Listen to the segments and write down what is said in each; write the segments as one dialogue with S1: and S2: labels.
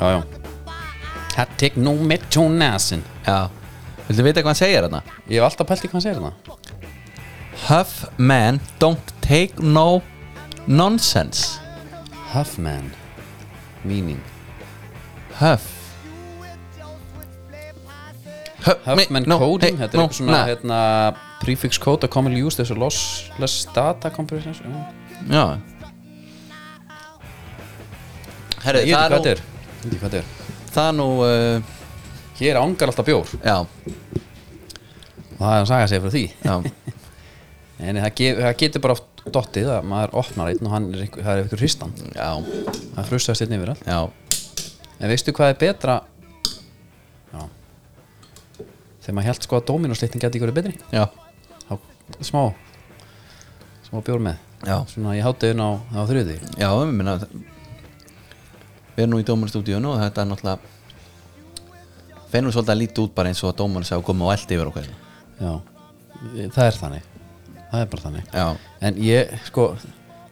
S1: já, já.
S2: Had take no metonasin
S3: Já Viltu vita hvað hann segir hérna?
S2: Ég hef alltaf pælt í hvað hann segir það
S3: Huff man, don't take no nonsense
S2: Huffman Meaning
S3: Huff Huff
S2: Huffman coding, þetta er
S3: no,
S2: eitthvað svona
S3: nei.
S2: hérna, prefix code að commonly used þessu lossless data compression já.
S3: Já Herru,
S2: Ég veit ekki
S3: það
S2: hvað
S3: er
S2: þetta
S3: nú
S2: er Ég veit ekki hvað þetta er
S3: Það er nú, uh,
S2: Hér ángar alltaf bjór
S3: já,
S2: Það er að saga sig frá því
S3: já
S2: En það, ge það getur bara oft dottið að maður opnar einn og hann er einhver, það er einhver hristan
S3: Já,
S2: Það frustast einn yfir allt
S3: já
S2: En veistu hvað er betra Já Þegar maður held sko að Dominos-litning geti ekki verið betri
S3: Já,
S2: Há, Smá Smá bjór með
S3: já,
S2: Svona ég hátti inn á, á þriði
S3: já, ég minna Við erum nú í dómarstúdíunum og þetta er náttúrulega Fennum svolítið að líti út bara eins og að dómarinn sá koma og eldi yfir okkar
S2: Já Það er þannig Það er bara þannig
S3: Já,
S2: En ég, sko,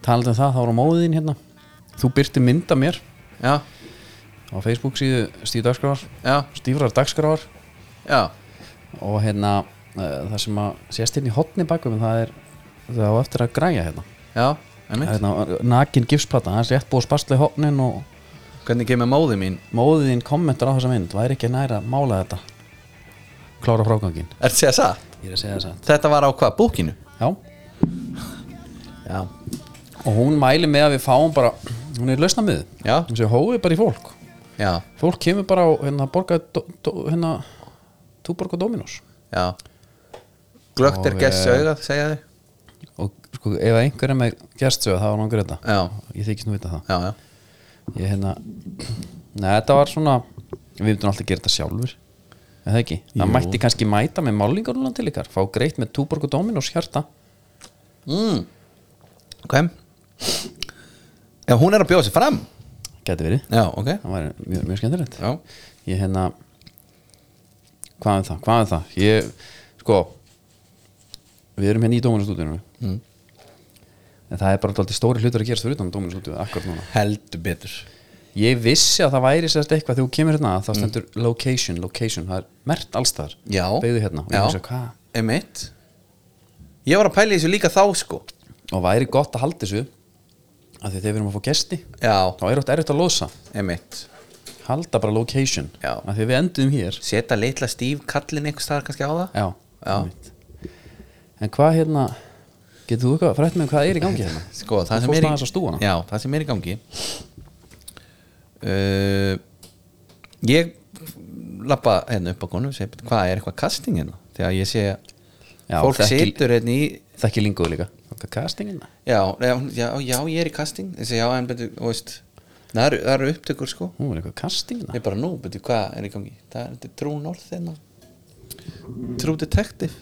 S2: talandi um það, þá var á móðin hérna Þú byrti mynda mér
S3: já,
S2: á Facebook síðu Stíf Dagskrávar
S3: já,
S2: Stífrar Dagskrávar
S3: já
S2: og hérna uh, það sem að sést inn í hotni bakum það er, það á eftir að græja hérna,
S3: Já, einmitt
S2: hérna nakin gipsplata, það er rétt búið að spastla í hotnin og
S3: Hvernig kemur móði mín?
S2: móðin kommentar á þessa mynd væri ekki næra að mála þetta klára frágangin
S3: Er þetta satt?
S2: ég er að segja þess
S3: Þetta var á hvað? Búkinu?
S2: að já,
S3: Já
S2: og hún mæli með að við fáum bara hún er lausna mið,
S3: Já.
S2: hún sé hóið bara í fólk
S3: Já,
S2: fólk kemur bara á hérna, borga, do, do, hérna túborg og Dominos
S3: já Glögt er
S2: Og,
S3: gess
S2: eh,
S3: augað, segja þau
S2: og sko, ef einhver er með gerstsöð þá er langur þetta
S3: Já,
S2: ég þykist nú vita það
S3: já, já
S2: ég hérna neða þetta var svona við myndum alltaf að gera þetta sjálfur eða það ekki, það mætti kannski mæta með málingarúlan til ykkar, fá greitt með túborg og Dominos hjarta
S3: mm. Ok Já, hún er að bjóða sér fram
S2: geti verið,
S3: Já, ok
S2: það var mjög, mjög skemmtilegt
S3: Já,
S2: ég hérna hvað er það, hvað er það ég, sko við erum hérna í Dominos-stúdíunum
S3: Mm.
S2: en það er bara alltaf stóri hlutur að gerast fyrir utan Dominos-stúdíu akkurat núna
S3: heldur betur
S2: ég vissi að það væri sérst eitthvað þegar þú kemur hérna þá stendur location, location, það er mert allstar
S3: Mm. Já
S2: beigðu hérna og
S3: Já.
S2: ég hugsa hvað
S3: Einmitt Ég var að pæla í þessu líka þá, sko
S2: og væri gott að halda þessu af því að þegar við erum að fá gesti
S3: Já,
S2: þá er oft erfitt að losa
S3: einmitt
S2: halda bara location
S3: Já.
S2: af því að við endum hér
S3: Seta litla stíf kallin einhvers staðar kannski á það
S2: já,
S3: Já.
S2: einmitt. en hvað hérna getur þú eitthvað frætt með hvað er í gangi hérna
S3: Sko,
S2: Þú
S3: það sem
S2: fórst
S3: er í
S2: aðeins að stúa hana.
S3: Já, það sem er í gangi uh, Ég lappa hérna upp á konum og segi, "Bíddu, hvað er eitthvað casting hérna? Þegar ég sé að
S2: Já,
S3: fólk
S2: þekki-
S3: situr hérna í
S2: þekki linguðu líka hvað castingina
S3: já, já, já, já, ég er í casting Ég segi, já, en betur, þú veist Það eru, það eru upptökur sko
S2: hún er eitthvað castingina
S3: Ég bara nú, betur, hvað er í gangi? Það er þetta er True North hérna True Detective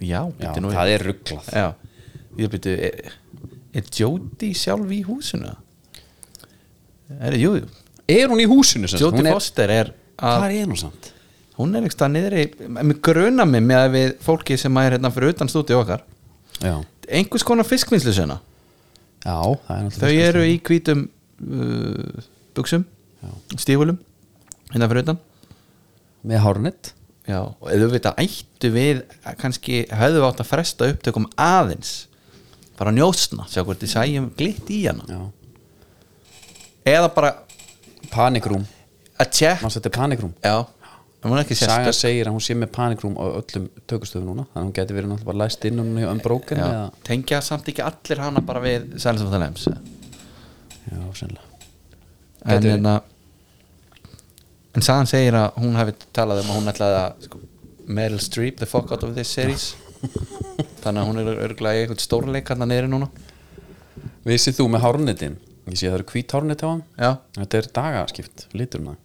S3: Já,
S2: já,
S3: betur nú
S2: það er rugglað
S3: Já, ég byrju er, er Jódi sjálf í húsinu? Er það, jú, jú
S2: er hún í húsinu sem sagt?
S3: Jódi
S2: Hún er-
S3: Foster er að,
S2: hvað er hún samt
S3: hún er ekki stað niðri mér gruna mig með að við fólki sem er hérna fyrir utan stúdíu okkar
S2: já,
S3: einhvers konar fiskvinnslu sinna
S2: já það er
S3: þau
S2: fiskast.
S3: eru í hvítum uh, buksum, stífulum hérna fyrir utan
S2: með hárnett
S3: Já, og eða við þetta ættu við að kannski höfðu átt að fresta upptökum aðeins bara að njóstna, sjá hvort þið sæjum glitt í hana eða bara
S2: panikrúm,
S3: að tjekk
S2: mannst þetta er panikrúm
S3: já, en hún er ekki
S2: Saga
S3: sérstök
S2: segir að hún sé með panikrúm á öllum tökustöfu núna þannig að hún geti verið náttúrulega bara læst inn og hún er unbroken
S3: Já,
S2: eða,
S3: tengja samt ekki allir hana bara við Silence of the Lambs en
S2: já, sennilega Gæti verið.
S3: hérna en Sagan segir að hún hafi talað um að hún ætlaði að sko, Meryl Streep the fuck out of this series þannig að hún er örgulega í eitthvað stórleik hann neyri núna
S2: Vissið þú með hárnetin? Ég sé að það eru hvít hárnet á hann
S3: já,
S2: Þetta er dagaskipt, liturinn á það.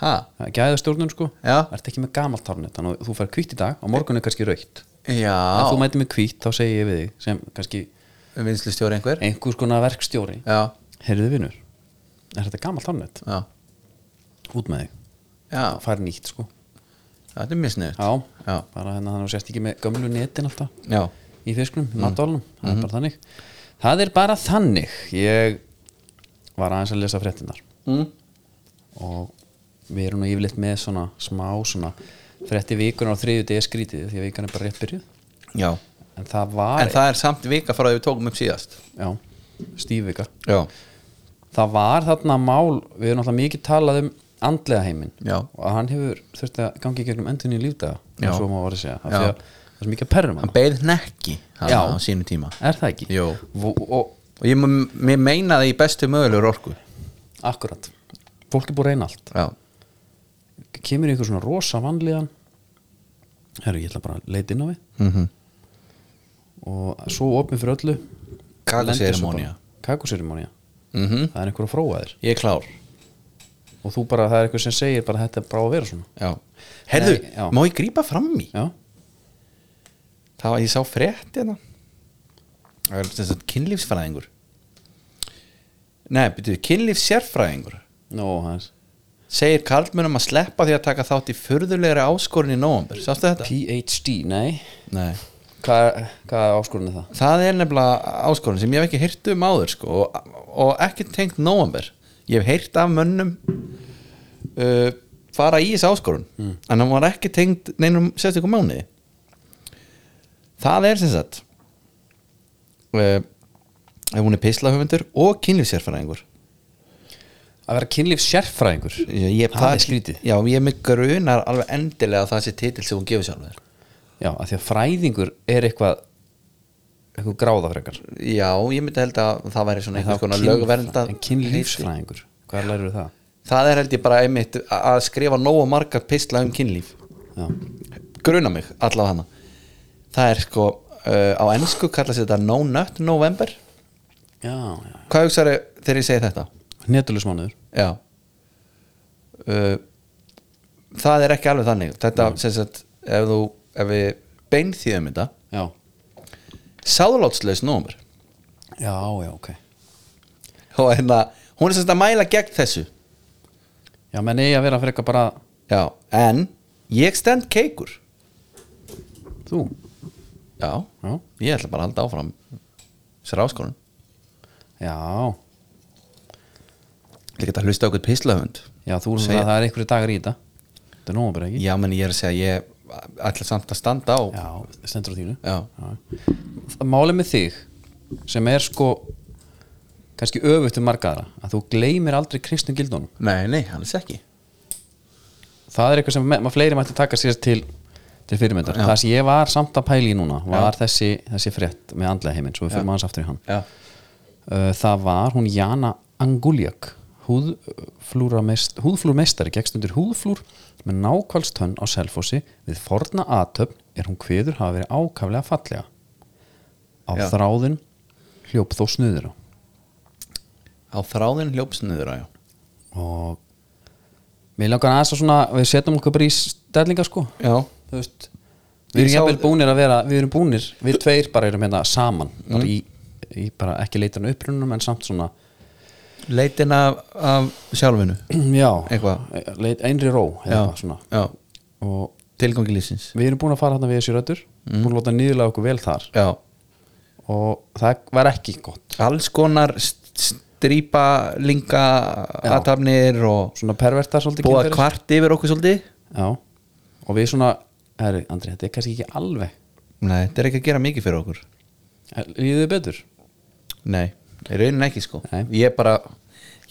S3: ha,
S2: það Gæða stjórnun sko
S3: Já.
S2: Ertu ekki með gamalt hárnet Þannig að þú fær hvít í dag og morgun er kannski raukt Ef þú
S3: já
S2: mæti með hvít þá segi ég við þig sem kannski
S3: vinslustjóri einhver
S2: einhvers konar verkstjóri
S3: já,
S2: Heyrðu vinnur Er þetta gamalt hárnet?
S3: já,
S2: Út með þig
S3: já,
S2: Fær nýtt sko
S3: þetta er misnöð
S2: Já,
S3: já,
S2: bara hennar þannig að þú sérst ekki með gömlu netin alltaf
S3: já,
S2: í fisknum,
S3: Mhm.
S2: mm. matdólnum það er bara þannig það er bara
S3: Mhm.
S2: þannig ég var aðeins að lesa fréttinar
S3: mm.
S2: og við erum nú yfirleitt með svona smá svona þretti vikunar á þriðju degi skrítið því að vikan er bara rétt byrjuð
S3: já
S2: en það var,
S3: en það er samt vika frá því við tókum upp síðast
S2: já, stífvika
S3: já,
S2: það var þarna mál, við erum alltaf mikið talað um andlega heiminn
S3: Já.
S2: og að hann hefur þurfti að gangi í gegnum endun í lífdaga
S3: Já.
S2: eins og maður var að segja, af
S3: Já.
S2: því að það er mikið að perrum hann
S3: hann beið nekki hann
S2: Já.
S3: á sínu tíma
S2: er það ekki?
S3: Jú.
S2: og, og
S3: og ég mun- mér meina það í bestu mögulegur orku
S2: akkurat fólk er búið að reyna allt
S3: já,
S2: kemur í ykkur svona rosa vanlíðan herru, ég ætla bara að leita inn á við
S3: mm -hmm.
S2: og svo opið fyrir öllu
S3: Kakóseremonía.
S2: kakuserimónia
S3: Mm
S2: það er einhver að fróa þér
S3: ég er klár
S2: og þú bara, það er einhver sem segir bara þetta er bara að vera svona
S3: já. herðu,
S2: Nei, já.
S3: má ég grípa fram í
S2: já,
S3: það var ég sá frétt hérna það er sem sagt kynlífsfræðingur nei, byrju, kynlífssérfræðingur
S2: nó, það er
S3: segir karlmennum að sleppa því að taka þátt í furðulegri áskorin í nóvambur sástu þetta?
S2: PhD, nei
S3: nei
S2: hvað hva áskorun er það?
S3: það er nefnilega áskorin sem ég hef ekki heyrt um áður sko, og, og ekki tengt nóvambur ég hef heyrt af mönnum uh, fara í þessi áskorun
S2: Mm.
S3: en hann var ekki tengt neinum sérstökum mánuði það er sem sagt uh, ef hún er pislahöfundur og kynlífsérfæraðingur
S2: að vera kynlíf sérfræðingur
S3: ég,
S2: það er skrítið
S3: já, ég er með grunar alveg endilega að það sé titil sem hún gefur sjálfur
S2: já, af því að fræðingur er eitthvað eitthvað gráðafrekar
S3: já, ég myndi held að það væri svona einhvers konar lögvernda
S2: en kynlífsfræðingur, hvað lærir það?
S3: það er held ég bara einmitt að skrifa nógu margar pistla um kynlíf
S2: já,
S3: gruna mig allavega hana það er sko uh, á ennsku kallast þetta no nut november
S2: já, já.
S3: hvað hugsaðu þegar ég segi þetta
S2: netulismánuður
S3: já uh, það er ekki alveg þannig þetta sem sagt ef þú ef við beinþýðum þetta
S2: já,
S3: sáðlátslaus november
S2: já, já, ok
S3: og hérna hún er sem sagt að mæla gegn þessu
S2: já, menn eigi að vera frekar bara
S3: já en ég stend keikur
S2: þú
S3: já
S2: já,
S3: ég ætla bara að halda áfram sér áskorun
S2: já,
S3: Ég get að hlusta okkur pislahöfund
S2: já þú erum
S3: Segja-
S2: það að það er einhverju dagar í þetta þetta er nóma bara ekki
S3: Já, menn ég er að segja ég ætla samt að standa á
S2: já, stendur á þínu
S3: Já,
S2: Það- Málið með þig sem er sko kannski öfutt um margaðara að þú gleymir aldrei kristnum gildunum
S3: Nei, nei, hann er ekki
S2: það er eitthvað sem me- maður fleiri mætti taka sér til, til fyrirmyndar það sem ég var samt að pæla í núna var þessi, þessi frétt með andlega heiminn svo við fyrir maður aftur í hann
S3: Já,
S2: uh, það var hún Jana Anguljak húðflúrmeist, húðflúrmeistari gekkst undir húðflúr með nákvæmstönn á selfósi við forna aðtöfn er hún kviður hafa verið ákaflega fallega á
S3: Já.
S2: þráðin hljóp þó snuður á
S3: á þráðin hljópsniður á já
S2: og við langar aðeins að svona við setjum okkur bara í stellinga sko
S3: Já,
S2: þú veist við erum
S3: Ég sá-
S2: jafnvel búnir að vera, við erum búnir við tveir bara erum hérna saman
S3: Mm.
S2: bara í, í bara ekki leitan upprunum en samt svona
S3: leitin af, af sjálfinu
S2: Mm, já, E,
S3: Eitthvað.
S2: leit, einri ró eða
S3: Já,
S2: eitthvað svona
S3: já,
S2: og
S3: tilgangi lífsins
S2: við erum búin að fara hérna við þessi röddur
S3: Mm.
S2: búin að láta nýðlega okkur vel þar
S3: Já,
S2: og það var ekki gott
S3: alls konar st- strýpa linga
S2: Já.
S3: aðtafnir og
S2: svona pervertar svolítið
S3: búa
S2: kynferðis-
S3: kvart yfir okkur svolítið
S2: já, og við svona herri, Andri, þetta er kannski ekki alveg
S3: Nei, þetta er ekki að gera mikið fyrir okkur
S2: Er- líður þið betur?
S3: Nei, í raunin ekki sko
S2: Nei.
S3: Ég er bara,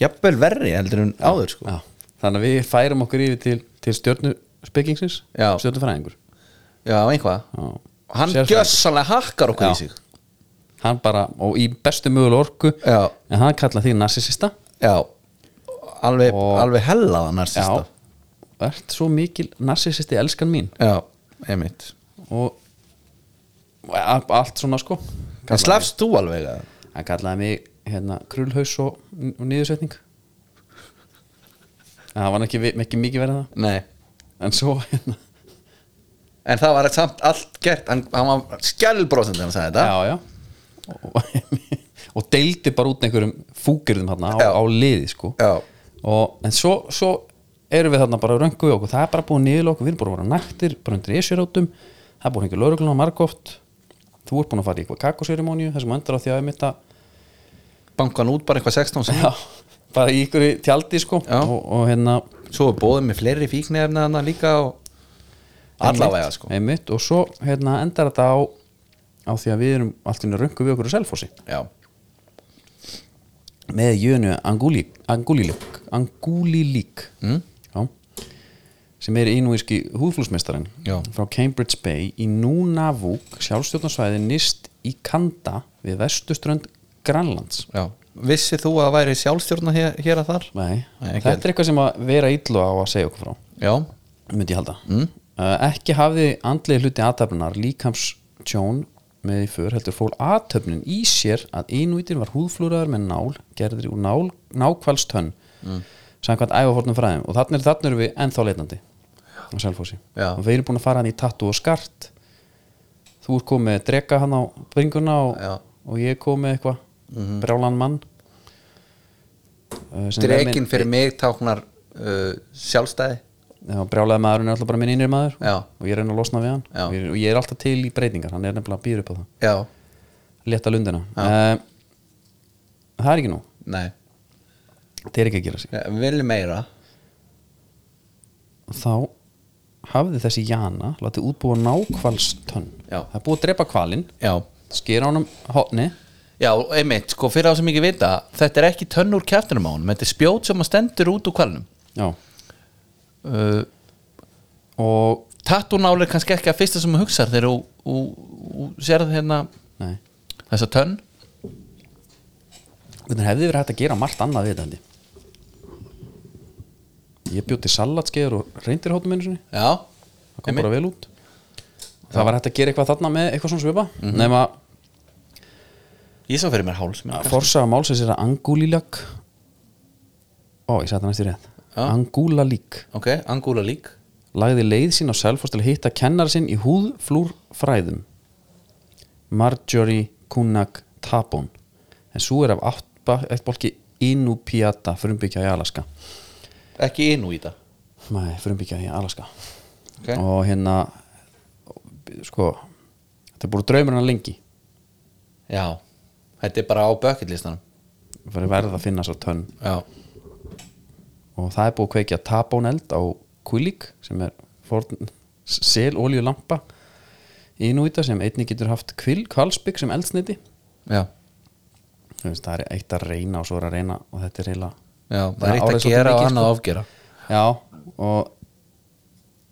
S3: jafnvel verri heldur en áður sko
S2: Já. þannig að við færum okkur yfir til, til stjórnuspekingsins
S3: Já.
S2: stjórnufræðingur
S3: Já, einhvað hann gjössanlega hakkar okkur í
S2: Já.
S3: sig
S2: hann bara, og í bestu möguleg orku
S3: Já.
S2: en hann kallaði þig narsisista
S3: já, alveg,
S2: Og-
S3: alveg hellaða narsista
S2: ert svo mikil narsissisti elskan mín
S3: já, einmitt
S2: og og a- allt svona sko
S3: en slafst þú alveg að
S2: hann kallaði mig hérna krullhaus og, og niðursetning en það var nú ekki, vi- ekki mikið verið
S3: nei,
S2: það en svo hérna
S3: en það var samt allt gert hann, hann var skjálbrósend þegar hann sagði þetta
S2: já, já. Og, og deildi bara út einhverjum fúkirðum hérna á,
S3: Já.
S2: á liði sko
S3: Já.
S2: og, en svo, svo erum við þarna bara röngu í okkur, það er bara búið niður okkur, við erum búin að vera naktir, bara undir esjurátum það er búið hengur laurugluna margóft þú ert búin að fara í eitthvað kakoserimóníu þessum endar á því að ég mitt að
S3: bankan út bara eitthvað 16 sem
S2: já, bara í ykkur tjaldi sko
S3: Já.
S2: og, og hérna
S3: svo er bóðið með fleiri fíknefna þarna líka og allavega
S2: einmitt,
S3: sko
S2: einmitt, og svo hérna endar þetta á á því að við erum allt inni að röngu við okkur á selfósi
S3: já,
S2: með jönu Angúli- Angúlílík Angúlílík mm? já, sem er inúíski húðflúsmestarinn
S3: Já.
S2: frá Cambridge Bay í Nunavuk sjálfstjórnarsvæði nýst í Kanda við vestuströnd Grænlands
S3: já vissið þú að það væri sjálfstjórna hér, hér að þar?
S2: Nei,
S3: Nei, ekki
S2: þetta er eitthvað sem að vera illu á að segja okkur frá
S3: já,
S2: myndi ég halda mm. ekki hafði andlega hluti aðtöfnunar líkams tjón með í för heldur fól aðtöfnin í sér að einvítin var húðflúraður með nál gerðir úr nál, nákvælst hönn
S3: Mm.
S2: samkvæmt ægafórnum fræðum og þannig er þannig erum við ennþá leitandi á Selfossi
S3: Já.
S2: og við erum búin að fara hann í tattu og skart þú er komið með drega hann á bringuna
S3: Já. Mhm.
S2: og, og ég er komið eitthvað brjálan mann uh, sem er
S3: dregin
S2: minn-
S3: fyrir mig táknar uh, sjálfstæði
S2: Já, brjálega maðurinn er alltaf bara minn innri maður
S3: Já.
S2: og ég reyna að losna við hann
S3: Já.
S2: og ég, og ég er alltaf til í breytingar, hann er nefnilega að býra upp á það
S3: já,
S2: leta lundina uh, það er ekki nú, það
S3: nei,
S2: er ekki að gera sig
S3: vil meira
S2: þá hafði þessi Jana látið útbúa nákvalstönn
S3: Já.
S2: það er búið að drepa kvalinn
S3: já,
S2: skera honum hotni
S3: já, einmitt, sko fyrir á sem ekki vita þetta er ekki tönn úr kjæftunum á honum þetta er spjót sem að stendur út úr kvalnum
S2: Já.
S3: uh,
S2: og
S3: tattúnál er kannski ekki að fyrsta sem að hugsa þegar þú- þú þú sérð hérna
S2: nei,
S3: þessa tönn
S2: hvernig hefði verið hægt að gera margt annað við þetta held ég. ég bjóti salatskeður og reyndir hotnum einu sinni
S3: já,
S2: það kom bara vel út það var hægt að gera eitthvað þarna með eitthvað svona svipa
S3: Mhm.
S2: nema
S3: ég sá fyrir mér háls mér.
S2: að forsaga málsins er að angúlílak ó, ég sagði það næstu rétt
S3: Já.
S2: angúlalík
S3: ok, angúla lík
S2: lagði leið sín á Selfoss til að hitta kennar sinn í húðflúrfræðum Marjorie Kunak Tabon en svo er af áttba eitt bólki Inupiata frumbyggja í Alaska
S3: ekki inn úr í það
S2: Nei, frumbyggja í Alaska
S3: Ok.
S2: og hérna sko þetta er búin draumurinn að lengi
S3: já, þetta er bara á bökkillistanum
S2: fyrir verð að finna svo tönn
S3: já,
S2: og það er búið að kveikja tabóneld á Kulik sem er forn, seloljulampa innúita sem einnig getur haft kvill kvalsbygg sem eldsneiti
S3: já,
S2: Þú veist, það er eitt að reyna og svo er að reyna og þetta er heila
S3: já það er eitt að gera og annað að ofgera
S2: sko. já og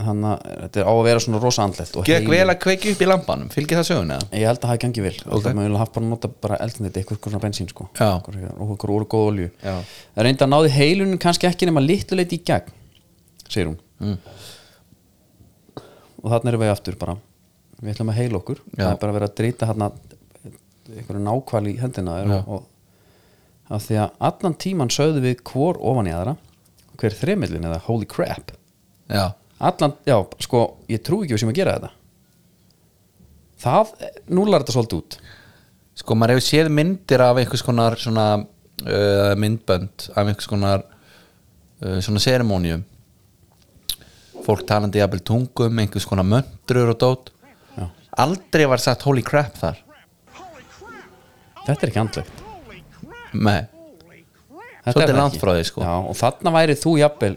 S2: þannig að þetta er á að vera svona rosa andlegt og
S3: gekk
S2: heilin-
S3: vel að kveiki upp í lampanum, fylgir það söguna eða?
S2: ég held að það hafi gengið vel okay. það mögulega haft bara að nota bara eldsneiti eitthvað svona bensín sko
S3: Já.
S2: Einhver- og okkur úr góð olju
S3: Já.
S2: reynda að náði heilunum kannski ekki nema litluleit í gegn segir hún mm. og þarna erum við aftur bara við ætlum að heila okkur
S3: Já.
S2: það er bara að vera að drita hérna einhverju nákvæl í hendina þér og, og af því að allan tíman sögðu við hvor ofan í aðra hver þremillin eða holy crap
S3: já,
S2: allan, já, sko, ég trú ekki við sem að gera þetta það, nú lar þetta svolítið út
S3: sko maður hefur séð myndir af einhvers konar svona uh, myndbönd af einhvers konar uh, svona seremónium fólk talandi jafnvel tungum einhvers konar möndrur og dót
S2: Já.
S3: aldrei var sagt holy crap þar
S2: Þetta er ekki andlegt.
S3: Nei.
S2: Þetta
S3: Svolítið
S2: er það
S3: langt
S2: ekki.
S3: frá því, sko.
S2: Já, og þarna væri þú jafnvel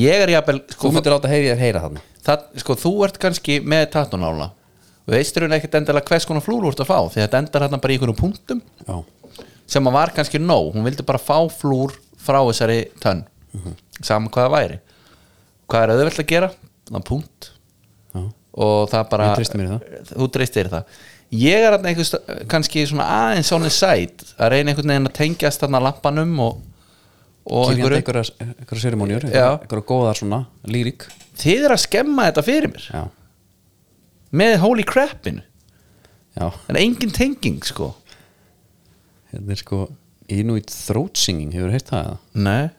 S3: ég er jafnvel
S2: Þú
S3: sko,
S2: myndir láta heyri þér heyra þarna
S3: það, sko, þú ert kannski með tattunála og veistur hún ekkert endilega hvers konar flúr þú ert að fá því þetta endar hérna bara í einhvernum punktum
S2: Já,
S3: sem að var kannski nóg, hún vildi bara fá flúr frá þessari tönn saman hvað það væri hvað er auðvelt að gera, það er punkt
S2: já,
S3: og það bara
S2: Ég treysti mér í
S3: þú treystir í það ég er þarna einhvers kannski svona aðeins svona sæt að reyna einhvern veginn að tengjast þarna lampanum og, og
S2: Kynjandi
S3: einhverju
S2: einhverja, einhverja sérimónjur
S3: Já.
S2: Einhverja góðar svona, lírik
S3: þið er að skemma þetta fyrir mér
S2: Já,
S3: með holy crapin
S2: já,
S3: en engin tenging sko
S2: þetta er sko Inuit throat singing, hefur heyrt það eða?
S3: Nei.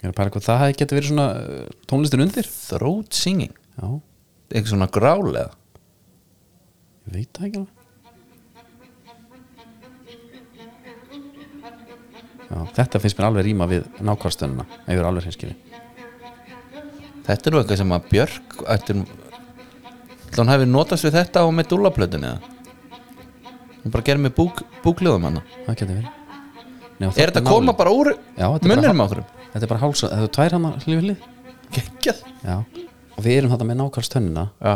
S2: Ég er að pæla hvað það hefði getið verið svona uh, tónlistin undir
S3: throat singing
S2: Já, ég
S3: eitthvað svona grálega
S2: veit það ekki alveg Já, þetta finnst mér alveg ríma við nákvæmstönuna ef ég er alveg hinskili
S3: þetta er nú eitthvað sem að Björk ættir hún hefur notast við þetta á Medulla plötunni eða hún bara gerir með búk, búkljóðum hana
S2: Það getur verið Nei, og
S3: er
S2: þarna
S3: þetta koma
S2: nálægt.
S3: bara úr
S2: Já, þetta er bara
S3: munninum
S2: há-
S3: á okkur
S2: Þetta er bara hálsa, þetta er tvær hann að hlifið hlið
S3: geggjað
S2: Já, og við erum þetta með nákvæmstönnina
S3: já.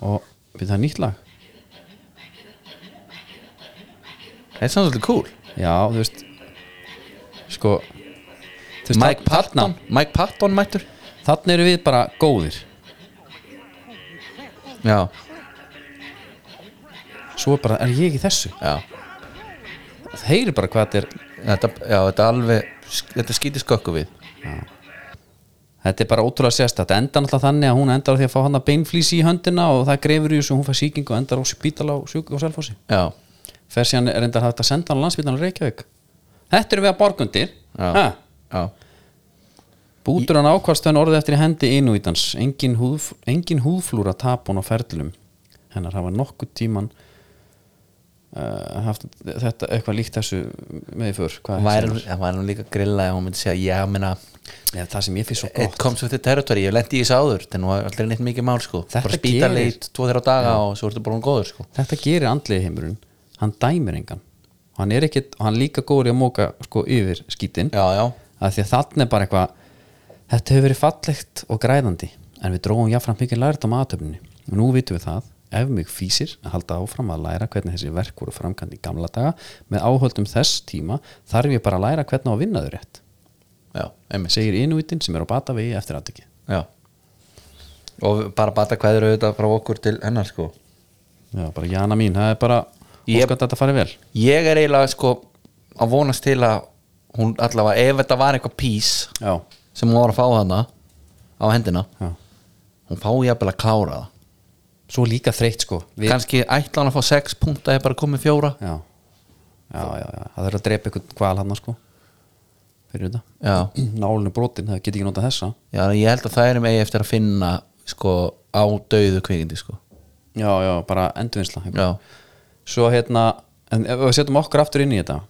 S2: og við það er nýtt lag
S3: það er samsvöldi cool
S2: Já, þú veist Sko þú veist,
S3: Mike Patton, Mike Patton mættur
S2: Þannig eru við bara góðir
S3: já,
S2: Svo er bara, er ég í þessu?
S3: já,
S2: Það heyri bara hvað þetta er
S3: þetta, já, þetta er alveg þetta skýti skökku við
S2: Þetta er bara ótrúlega sérstætt Þetta endar náttúrulega þannig að hún endar á því að fá hann að beinflýsi í höndina og það grefur í þessu og hún fær sýking og endar á spítala og sjúk og selfósi
S3: já,
S2: Fer síðan er endar hægt að senda hann á landsbítan og Reykjavík Þetta eru við að borgundir
S3: Já.
S2: ha,
S3: já,
S2: Bútur hann ákvarðstöðan orðið eftir í hendi innúítans engin, húð, engin húðflúra tapun á ferlum hennar hafa nokkuð tíman uh, haft þetta eitthvað líkt þessu með í för Hvað er
S3: væri,
S2: sem-
S3: það væri nú líka grilla ef hún myndi segja, já, menna
S2: Nei, það sem ég finnst svo
S3: it
S2: gott
S3: comes with the territory, ég lendi í þessu áður þetta er nú aldrei neitt mikið mál, sko
S2: Þetta
S3: bara spítaleit,
S2: gerir-
S3: tvo þeirra daga og svo ertu bara hún góður, sko
S2: þetta gerir andlið heimurinn hann dæmir engan og hann er ekkit, og hann er líka góður í að móka sko yfir skítin
S3: já, já,
S2: af því að þannig er bara eitthvað þetta hefur verið fallegt og græðandi en við dróum jáfnframt mikið lært á matöfninni og nú vitum við það, ef mig fýsir að halda áfram að læra hvernig þessi verk voru framkvæmd í gamla daga með áhöldum þess tíma þarf ég bara að læra hvernig á að vinna þau rétt
S3: já, einmitt
S2: segir innvitinn sem er á batavegi eftir aðtöki
S3: já. og bara bata hverður auðvitað frá okkur til hennar, sko
S2: já, bara Jana mín, það er bara
S3: Ég-
S2: ég... óskat að þetta fari vel
S3: ég er eiginlega, sko að vonast til að hún allavega ef þetta var eitthvað pís
S2: já,
S3: sem hún var að fá þarna á hendina
S2: já.
S3: hún fá jafnvel að klára það
S2: svo líka þreytt sko við
S3: kannski ætla hann að fá 6 punta eða bara komið fjóra
S2: já, já, já, já. það þurfa að drepa ykkur hval hann sko fyrir þetta
S3: já.
S2: nálinu brotin, það get ekki nota þessa
S3: já, ég held að það er með eftir að finna sko á dauðu kvikindi sko
S2: já, já, bara endurvinnsla
S3: já,
S2: svo hérna, en ef við setjum okkur aftur inn í þetta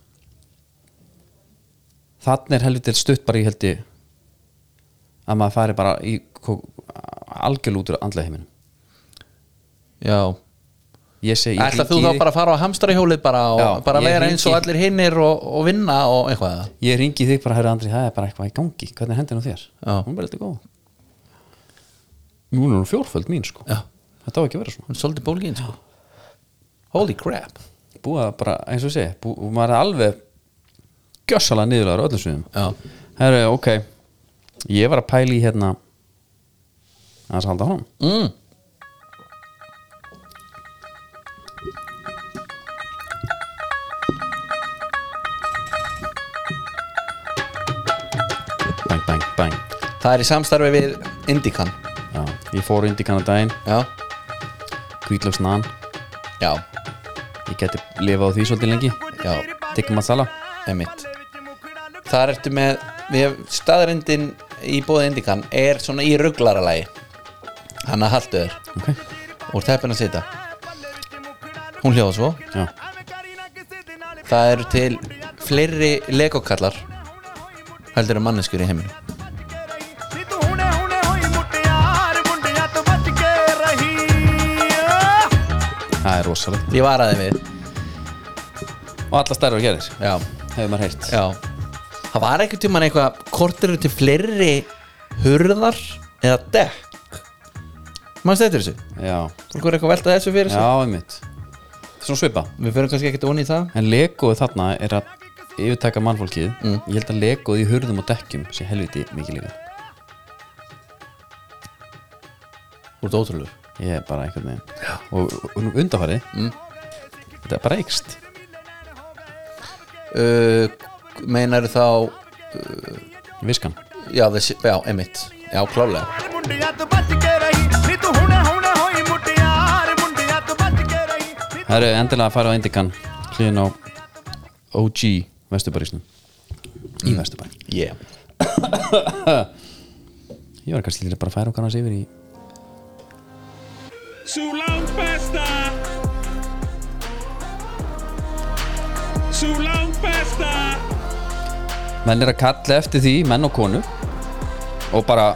S2: þannig er helviti stutt bara í heldi að maður fari bara í algjörl út úr andlega heiminum
S3: já
S2: ég segi, ég
S3: ætla
S2: hringi
S3: þú
S2: í
S3: þá
S2: þig-
S3: bara að fara á hamstrahjólið bara og
S2: Já,
S3: bara
S2: ég
S3: vera
S2: hringi.
S3: eins og allir hinnir og, og vinna og eitthvað
S2: ég ringi þig bara, herra Andri, það er bara eitthvað í gangi hvernig er hendin á þér,
S3: Já.
S2: hún er bara eitthvað góð nú er hún fjórföld mín sko
S3: Já.
S2: þetta á ekki að vera svona
S3: hún er svolítið bólgin sko holy crap
S2: búið að bara, eins og ég segi búið, og maður er alveg gjössalega niðurlegar á öllum
S3: Já.
S2: sviðum herru, ok ég var að pæla í hérna að halda honum
S3: mm.
S2: bang, bang, bang
S3: það er í samstarfi við Indikan
S2: Já, ég fór indi kannar daginn,
S3: já,
S2: kvítlöksnan
S3: já,
S2: ég geti lifað á því svolítið lengi
S3: já,
S2: tikka masala
S3: emitt þar ertu með við, staðrindin í bóði Indikan er svona í rugglaralagi hann að haltu þér
S2: ok,
S3: úr teppin að sita hún hljóða svo
S2: já,
S3: það eru til fleiri legokallar heldur en manneskur í heiminu
S1: ਨੀ ਤੂੰ ਹੁਣੇ ਹੁਣੇ ਹੋਈ ਮੁਟਿਆਰ ਮੁੰਡਿਆਂ ਤੋਂ ਬਚ ਕੇ ਰਹੀ
S2: það er rosalegt
S3: ég varaði við
S2: og alla stærður gerir,
S3: já,
S2: hefur maður heyrt
S3: já það var ekkert tímann eitthvað hvort eru til fleiri hurðar eða dekk mannst þetta þessu?
S2: já,
S3: fólk verður eitthvað að velta þessu fyrir
S2: já,
S3: sig
S2: einmitt svona svipa
S3: við förum kannski ekkert onni í það
S2: En legoð þarna er að yfirtaka mannfólkið Ég held að legoð í hurðum og dekkjum sé helviti mikið líka
S3: þú ert ótrúlegur
S2: Ég er bara einhvern veginn Og, og undanfari mm. Þetta er bara eikst
S3: uh, meinar þá
S2: Viskan
S3: já, þessi, já, emitt, já, klálega
S1: ਮੁੰਡਿਆਂ ਤੋਂ ਬਚ ਕੇ ਰਹੀ ਨੀ ਤੂੰ ਹੁਣੇ ਹੁਣੇ ਹੋਈ ਮੁਟਿਆਰ ਮੁੰਡਿਆਂ ਤੋਂ ਬਚ ਕੇ ਰਹੀ ਨੀ
S2: Það eru endilega að fara á Indikan Hliðin á OG Vesturbarísnum Í Vesturbæ
S3: yeah.
S2: Ég var kannski til að bara færa okkar hans yfir í
S4: Sú langt besta Sú langt besta
S2: Menn er að kalla eftir því menn og konu Og bara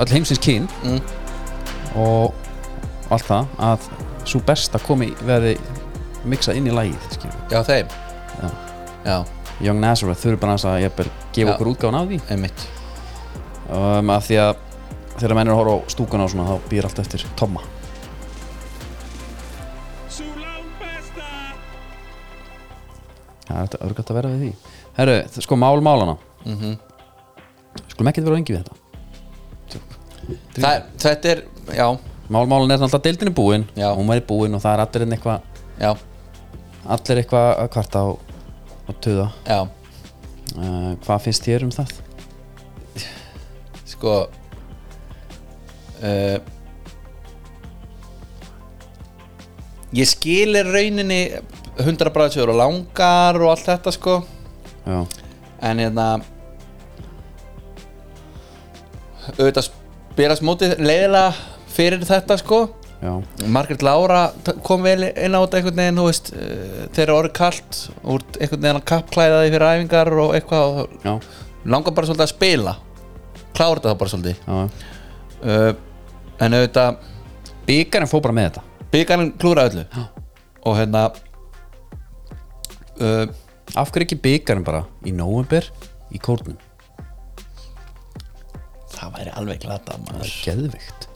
S2: öll heimsins kyn mm. Og allt það að Svo besta komi verði miksað inn í lagið skilur.
S3: já, þeim
S2: Já.
S3: já,
S2: Young Nazareth þurfi bara aðeins að jafnvel, gefa
S3: Já.
S2: okkur útgáfan af því
S3: einmitt
S2: um, af því að þegar menn er að horfa á stúkuna og svona þá býr allt eftir Tomma
S4: Su lampesta.
S2: það er þetta örgætt að vera við því herru, þ- sko mál málana mm skulum ekki vera engi við þetta
S3: Þa, Þetta er, já,
S2: mál málana er náttúrulega deildin er búin
S3: Já.
S2: hún væri búin og það er allir en eitthvað
S3: já,
S2: allir eitthvað að kvarta og, og tuða
S3: já
S2: uh, hvað finnst þér um það?
S3: Sko uh, Ég skilir rauninni 100 bræðsjóður og langar og allt þetta sko
S2: já,
S3: en hérna auðvitað spilast mótið leiðilega fyrir þetta sko
S2: já,
S3: Margrét Lára t- kom vel inn á þetta einhvern veginn þú veist, eh, þeir eru orðið kalt og úr einhvern veginn að kappklæðaði fyrir æfingar og eitthvað og
S2: já,
S3: langar bara svolítið að spila klára þetta bara svolítið
S2: já.
S3: uh, en auðvitað
S2: byggarinn fór bara með þetta
S3: byggarinn klúra öllu og hérna uh,
S2: af hverju ekki byggarinn bara í november í kórnum
S3: það væri alveg
S2: það
S3: glata
S2: er
S3: maður
S2: geðvikt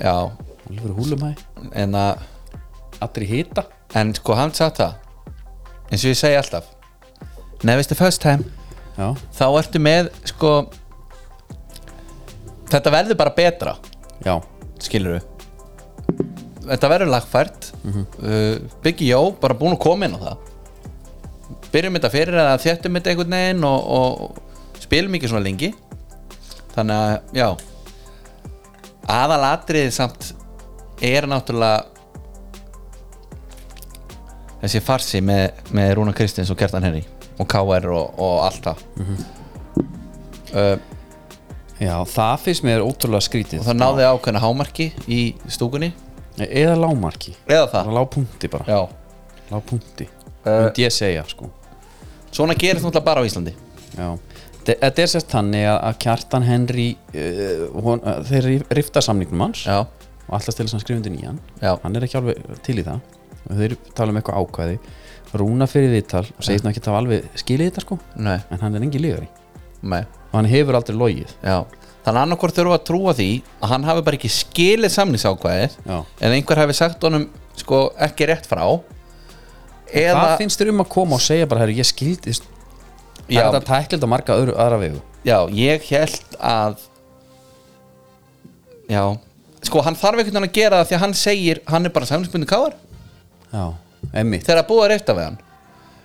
S3: já,
S2: alveg húlumæ
S3: en að
S2: allir í hita
S3: en sko hann satt það eins og ég segi alltaf never is the first time
S2: já,
S3: þá ertu með sko þetta verður bara betra
S2: já,
S3: skilur við þetta verður lagfært uh, Biggie Jó bara búin að koma inn á það byrjum þetta fyrir eða þjættum þetta einhvern veginn og, og spilum ekki svona lengi þannig að já aðalatriðið samt er náttúrulega þessi farsi með, með Rúna Kristins og Kertan Henry og KR og, og allt það uh,
S2: já, það finnst mér ótrúlega
S3: og
S2: skrítið
S3: það náði ákveðna hámarki í stúkunni
S2: eða lágmarki
S3: eða það
S2: bara lágpunkti bara,
S3: já
S2: lágpunkti
S3: Eh.
S2: myndi ég segja sko
S3: Svona gerist náttúrulega bara á Íslandi
S2: Já, Þe- þetta er sérst þannig að að Kjartan Henry uh, hon, uh, þeir rif- rifta samningnum hans
S3: Já,
S2: og alltaf stelast hann skrifundi nýjan
S3: Já.
S2: hann er ekki alveg til í það og þeir tala um eitthvað ákvæði Rúna fyrir viðtal og segist nú ekki að það alveg skilið þetta sko
S3: nei,
S2: en hann er engin lígari
S3: nei
S2: og hann hefur aldrei logið
S3: Já, þannig annarkvort þurfa að trúa því að hann hafi bara ekki skilið samlingsákvæðið
S2: Já.
S3: eða einhver hafi sagt honum sko ekki rétt frá eða
S2: Hvað finnst þér um að koma og segja bara herru ég skildi
S3: Já.
S2: Já. er þetta tæklild á marga öðru, aðra vegu
S3: Já, ég held að Já Sko, hann þarf einhvern veginn að gera það því að hann segir hann er bara samlingsbundin káar
S2: Já, emmitt
S3: þegar að búa rétt af hann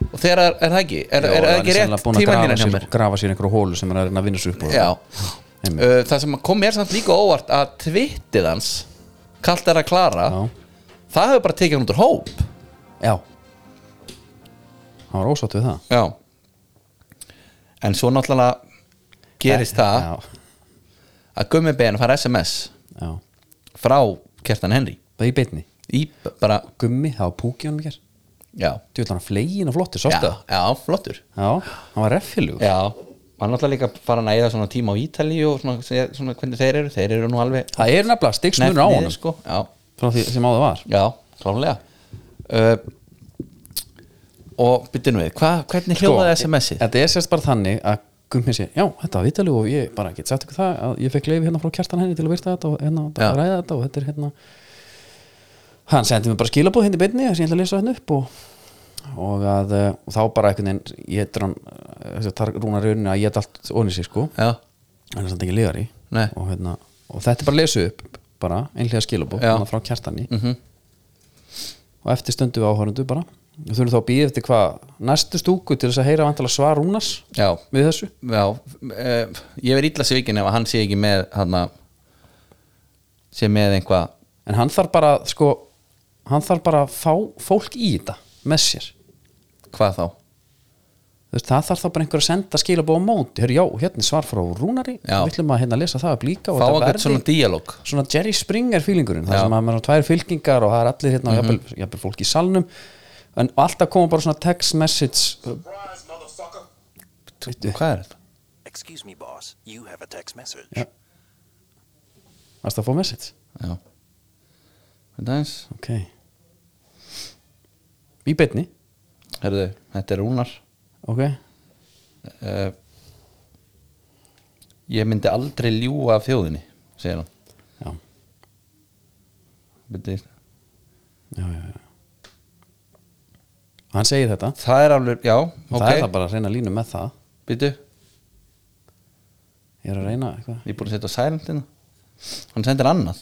S3: og þegar er það ekki er, er, er það ekki rétt tímanlínan hjá mér
S2: grafa sér einhverju hólu sem hann er að reyna að vinna sér upp úr.
S3: Já,
S2: Sko. Einmitt.
S3: uh, það sem kom mér samt líka óvart að tvittið hans kallt er að klara
S2: Já.
S3: það hefur bara tekið hann út úr hóp
S2: Já Hann var ósátt við það
S3: já en svo náttúrulega gerist það
S2: Já,
S3: að gummi bein fara sms
S2: já
S3: frá Kertan Henry
S2: Það er í beinni
S3: í b- bara,
S2: Gummi, það var púki honum ekki
S3: já
S2: Þú ætlar hann flegin og flottir,
S3: já,
S2: sástu það?
S3: já, flottur
S2: Já, hann var reffilugur
S3: já, hann náttúrulega líka fara að næða svona tíma á Ítali og svona, segja svona hvernig þeir eru þeir eru nú alveg
S2: Það er nefnilega stigsmunur á
S3: hneppt niður,
S2: honum
S3: sko. já,
S2: Frá því sem áður var
S3: Já, klálega uh, Og byrjum við, hva, hvernig hljóðaði SMS-ið?
S2: Sko, Þetta er sérst bara þannig að Gummi sé Já, þetta var vitali og ég bara get sagt ykkur það að Ég fekk leiði hérna frá kjartan henni til að virta þetta og hérna
S3: Já.
S2: að ræða þetta og þetta er hérna Hann sendi mér bara skilabóð hérna í beinni þess að ég ætla að lesa hérna upp og og að eh, og þá bara einhvern veginn ég heitir hann, eh, þess að rúna rauninu að ég heit allt onni sig sko
S3: Já,
S2: hann er samt ekki liðari
S3: Nei.
S2: og, hérna, og þetta er bara lesu upp bara einhlega skilabók
S3: Já. Mhm.
S2: frá kjartani -hmm. og eftir stundu við áhörundu bara og þurfum þá að býða eftir hvað næstu stúku til þess að heyra vantala svar Rúnars
S3: já,
S2: við þessu
S3: já uh, Ég verið illa svikin ef hann sé ekki með hann að sé með einhvað
S2: en hann þarf bara sko hann þarf bara að fá fólk í þetta með sér
S3: hvað þá
S2: Þú veist, það þarf þá bara einhver að senda skilabóð á móti Hör, já, hérna er svar frá Rúnari
S3: Já.
S2: við ætlum að hérna lesa það upp líka og
S3: Fá
S2: þetta
S3: einhvern
S2: verði-
S3: svona díalóg
S2: svona Jerry Springer fílingurinn það
S3: Já. Mhm.
S2: sem að maður er á tvær fylkingar og það er allir hérna mm jafnvel, jafnvel fólk í salnum en alltaf koma bara svona text message
S3: Hvað er þetta?
S5: Excuse me, boss. You have a text message.
S2: Ja. varst að fá message
S3: Já Þetta eins
S2: ok í beinni
S3: Herðu, þetta er Rúnar
S2: ok,
S3: uh, ég myndi aldrei ljúga af þjóðinni segir hann
S2: já,
S3: Bíddu,
S2: já, já, já. hann segir þetta
S3: það er alveg, já,
S2: það er
S3: ok
S2: það bara að reyna línu með það
S3: byrju,
S2: ég er að reyna eitthvað
S3: ég er búin að setja á silentina hann sendir annað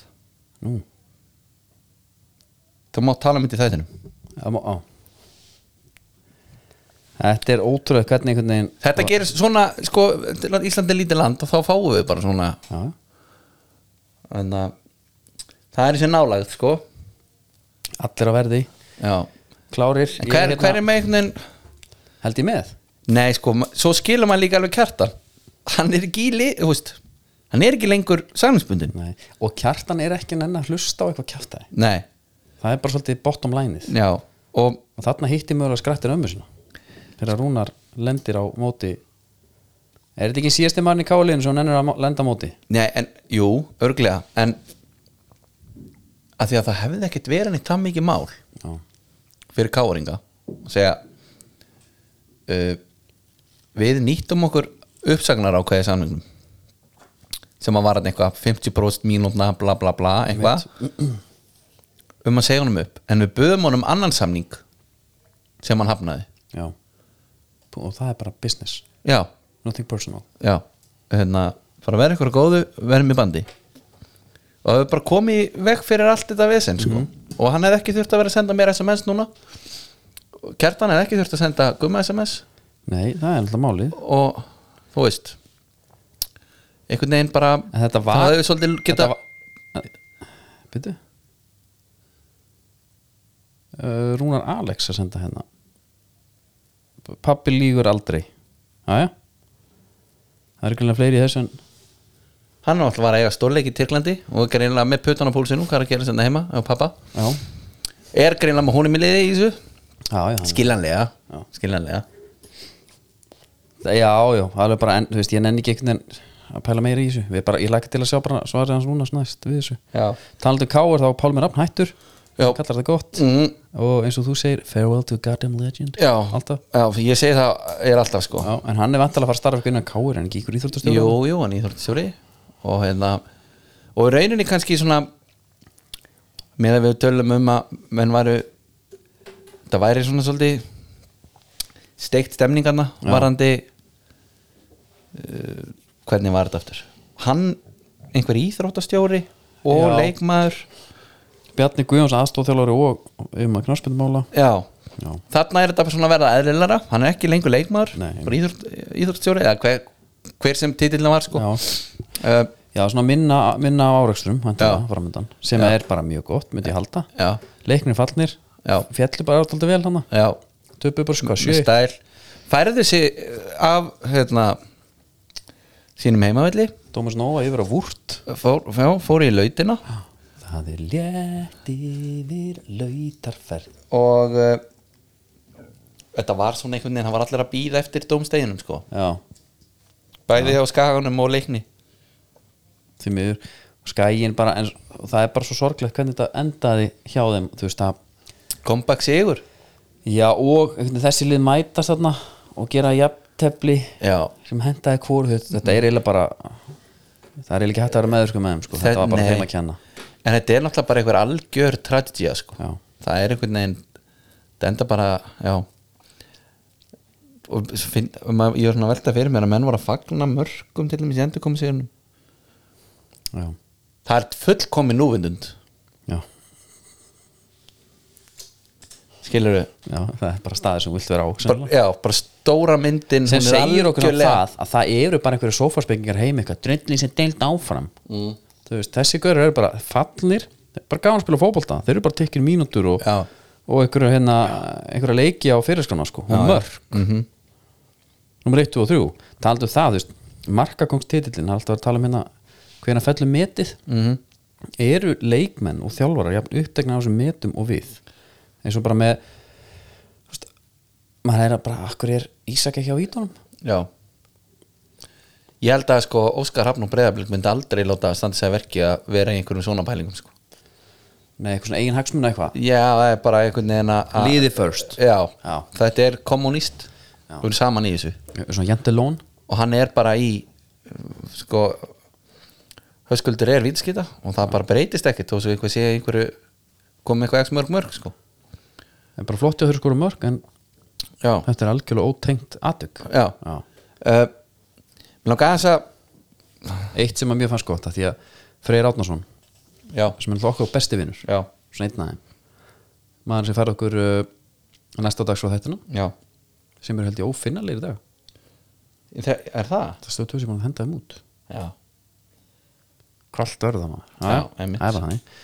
S2: nú,
S3: þú mátt tala mitt í þættinum
S2: það má á þetta er ótrúlega hvernig einhvern veginn
S3: þetta gerist svona, sko Ísland er lítið land og þá fáum við bara svona
S2: já,
S3: en að það er þessi nálægt, sko
S2: allir að verði
S3: já,
S2: klárir,
S3: en
S2: ég
S3: hver, hver
S2: hérna,
S3: er með einhvern veginn
S2: held ég með
S3: Nei, sko, ma- svo skilur maður líka alveg kjartan Hann er ekki í li, þú veist Hann er ekki lengur samlingsbundin
S2: Nei. og kjartan er ekki nenn að hlusta á eitthvað kjartaði
S3: Nei,
S2: það er bara svolítið bottom lineið
S3: já Og
S2: og þarna hitti mögulega skrættir ömmu sinna þegar Rúnar lendir á móti er þetta ekki síðasti mann í káliðinu sem hann ennur að mo- lenda á móti
S3: Nei, en, jú, örglega En að Því að það hefði ekkert verið neitt það mikið mál
S2: já,
S3: Fyrir káringa Og segja uh, Við nýttum okkur uppsagnar ákveði samlingum Sem að var hann eitthvað 50% mínútna, bla bla bla Eitthvað Um að segja honum upp En við böðum honum annan samning Sem hann hafnaði
S2: já. og það er bara business
S3: Já,
S2: nothing personal
S3: já hérna, fara að vera ykkur góðu, verðum í bandi og það hefur bara komið í veg fyrir allt þetta vesinn sko. og hann hefði ekki þurft að vera að senda mér SMS núna Og Kjartan hefði ekki þurft að senda gumma SMS
S2: nei, það er alltaf málið
S3: og þú veist einhvern veginn bara
S2: en þetta var
S3: það hefur svolítið geta
S2: þetta var- Bíddu. Uh, Rúnar Alex að senda hérna pappi lígur aldrei aðja það er ekki fleiri í þessu en
S3: hann náttúrulega var að eiga stórleik í Tyrklandi og er greinlega með putan á púlsinu hvað er að gera senda heima á pappa
S2: já,
S3: er greinlega með honum í liði í þessu
S2: já, já hann-
S3: skiljanlega, skiljanlega.
S2: Já, já, það er bara, en, þú veist, ég nenni ekki einhvern veginn að pæla meira í þessu, við bara, ég lækka til að sjá bara svarið hans núna snæst við þessu
S3: Já.
S2: Talandi um Káur þá er Pálmi Rafn hættur
S3: Já.
S2: kallar það gott
S3: Mhm.
S2: og eins og þú segir, farewell to goddamn legend
S3: Já,
S2: alltaf,
S3: já, ég segi það ég er alltaf sko
S2: já, en hann er vantilega að fara að starfa eitthvað innan Káur en ekki ykkur íþjóttastjóð
S3: Jú, jú, hann íþróttistjóri og hérna og í rauninni kannski svona með að við tölum um að menn varu það væri svona svolítið steikt stemningarna varandi uh, hvernig var þetta aftur hann, einhver íþróttastjóri og
S2: Já.
S3: leikmaður
S2: Bjarni Guðjóns aðstóðþjálfari og um að knarspindumála
S3: já,
S2: Já.
S3: þarna er þetta bara svona að verða eðlilara hann er ekki lengur leikmaður
S2: Nei.
S3: bara íþrótt, íþróttastjóri eða hver, hver sem titillin var sko uh,
S2: Já, svona minna, minna á árekstrum væntanlega,
S3: Já.
S2: framöndan, sem
S3: Já.
S2: er bara mjög gott myndi ég halda,
S3: Já.
S2: leiknir fallnir
S3: Já.
S2: fjallir bara átaldi vel hann
S3: já,
S2: töpu bara sko,
S3: með
S2: sjö
S3: stæl færði sig eh, af hérna, sínum heimavelli
S2: Dómas Nóa yfir á vúrt
S3: fór, fór, fór í lautina
S2: Það er létt yfir lautarferð
S3: og uh, þetta var svona einhvern veginn hann var allir að býða eftir dómsteginum sko.
S2: Já,
S3: bæði á skaganum og leikni
S2: því miður skægin bara, en og það er bara svo sorglegt hvernig þetta endaði hjá þeim þú veist að,
S3: kompakt sigur
S2: já og einhvern veginn þessi lið mætast þarna og gera jafntefli
S3: já,
S2: sem hendaði hvort þetta er eiginlega bara það er eiginlega ekki hægt að vera meður sko með þeim sko
S3: Þe-
S2: þetta var bara
S3: nei.
S2: þeim að kenna
S3: en þetta er náttúrulega bara einhver algjör tragedía sko.
S2: Já.
S3: það er einhvern veginn þetta enda bara, já og svo finn, og maður- ég var svona að velta fyrir mér að menn voru að fagna mörgum til dæmis í endur komið sigurnum
S2: Já,
S3: Það er fullkomin núvindund
S2: já,
S3: Skilur við
S2: já, það er bara staðið sem þú vilt vera á
S3: bara,
S2: sennilega.
S3: Já, bara stóra myndin
S2: sem
S3: hún er
S2: segir okkur um
S3: algjörlega-
S2: það að það eru bara einhverju sófarsbyggingar heim eitthvað, dröndin sem deilt áfram mm. veist, þessi görur eru bara fallnir þeir eru bara gaman að spila fótbolta, þeir eru bara tekkin mínútur og,
S3: Já.
S2: og einhverju hérna einhverju leiki á fyrirskona sko, og mörg mm -hmm. nummer 1 og 3, taldu um það þú veist, markakongstitillin, það er alltaf að tala um hérna hvena fellur metið -hmm. eru leikmenn og þjálfarar jafn upptegna á þessum metum og við eins og bara með þú veist, maður er að bara, akkur er Ísak ekki á ídónum
S3: Já Ég held að sko Óskar Hafn og Breiðablík myndi aldrei láta að standa sig að verki að vera í einhverjum svona pælingum sko.
S2: Nei, eitthvað svona eigin hagsmuna eitthvað
S3: Já, það er bara einhvern veginn að
S2: Liðið first.
S3: Já,
S2: Já.
S3: þetta er kommunist og eru saman í þessu
S2: svona jentelón
S3: og hann er bara í uh, sko höskuldur er vítskita og það bara breytist ekkert og svo eitthvað sé einhverju komið eitthvað ekki mörg mörg sko
S2: er bara flott að höra skora mörg en
S3: já,
S2: þetta er algjörlega ótengt aðtök
S3: já.
S2: Já.
S3: Uh, mér langar aðeins að
S2: eitt sem að mér fannst gott að því að Freyr Átnarsson
S3: já,
S2: sem er náttúrulega okkar besti vinnur
S3: já,
S2: svona einn aðeim maður sem færði okkur uh, næsta dags á þættina
S3: já
S2: sem er held ég ófinnalegir í dag
S3: Þe- er það?
S2: það stöðu tvö sem hann hendaði mút
S3: já,
S2: kvalt örða maður
S3: Já,
S2: Jæja,
S3: einmitt.
S2: það er bara þannig.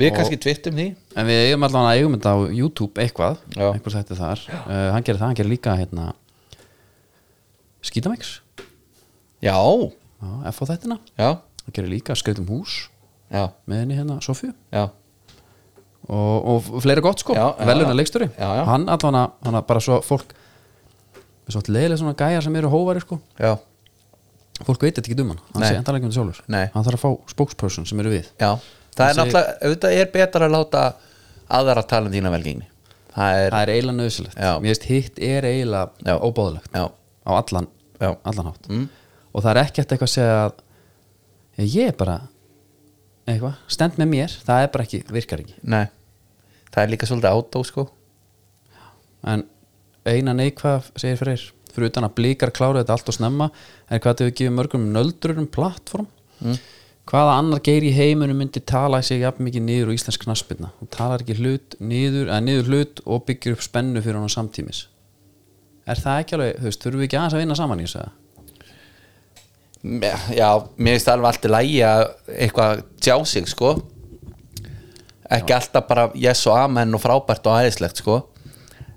S3: við
S2: Og-
S3: kannski tvittum því
S2: en við eigum allan að eigum þetta á YouTube eitthvað
S3: Já.
S2: einhvers þetta þar uh, hann gerir það, hann gerir líka hérna, skítamix
S3: já,
S2: F á þættina
S3: já,
S2: hann gerir líka skautum hús
S3: já,
S2: með henni hérna Sofju
S3: já
S2: og, og fleira gott sko,
S3: Já, já,
S2: veluna
S3: já.
S2: leikstöri
S3: Já, já.
S2: hann allan að, hann að bara svo fólk svo leiðilega svona gæjar sem eru hóvari sko
S3: já,
S2: fólk veit þetta ekki um hann, hann
S3: Nei.
S2: segir endalega ekki um þetta sjálfur
S3: Nei.
S2: hann þarf að fá spokesperson sem eru við
S3: já það er
S2: Þessi-
S3: náttúrulega, auðvitað er betra að láta aðra tala um þína velgengni það er,
S2: það er eiginlega nöðsilegt,
S3: Já.
S2: mér veist hitt er eiginlega
S3: Já.
S2: óbáðilegt
S3: já,
S2: á allan,
S3: Já. Mm.
S2: allan hátt og það er ekkert eitthvað að segja að "Já, ég er bara eitthvað, stend með mér, það er bara ekki virkar ekki,
S3: nei það er líka svolítið átó sko
S2: en eina neikvað segir fyrir, fyrir utan að blíkar klára þetta allt og snemma, en hvað þau gefið mörgum nöldrurum plattform hvaða annar geir í heiminum myndi tala sig jafn mikið niður á íslensk knaspirna og talar ekki hlut niður, eða niður hlut og byggir upp spennu fyrir honum samtímis er það ekki alveg, þú veist, þurfum við ekki aðeins að vinna saman í þessu eða?
S3: Me- Já, mér finnst alveg allt í lægi að eitthvað tjá sig sko ekki alltaf bara yes og amen og frábært og aðeinslegt sko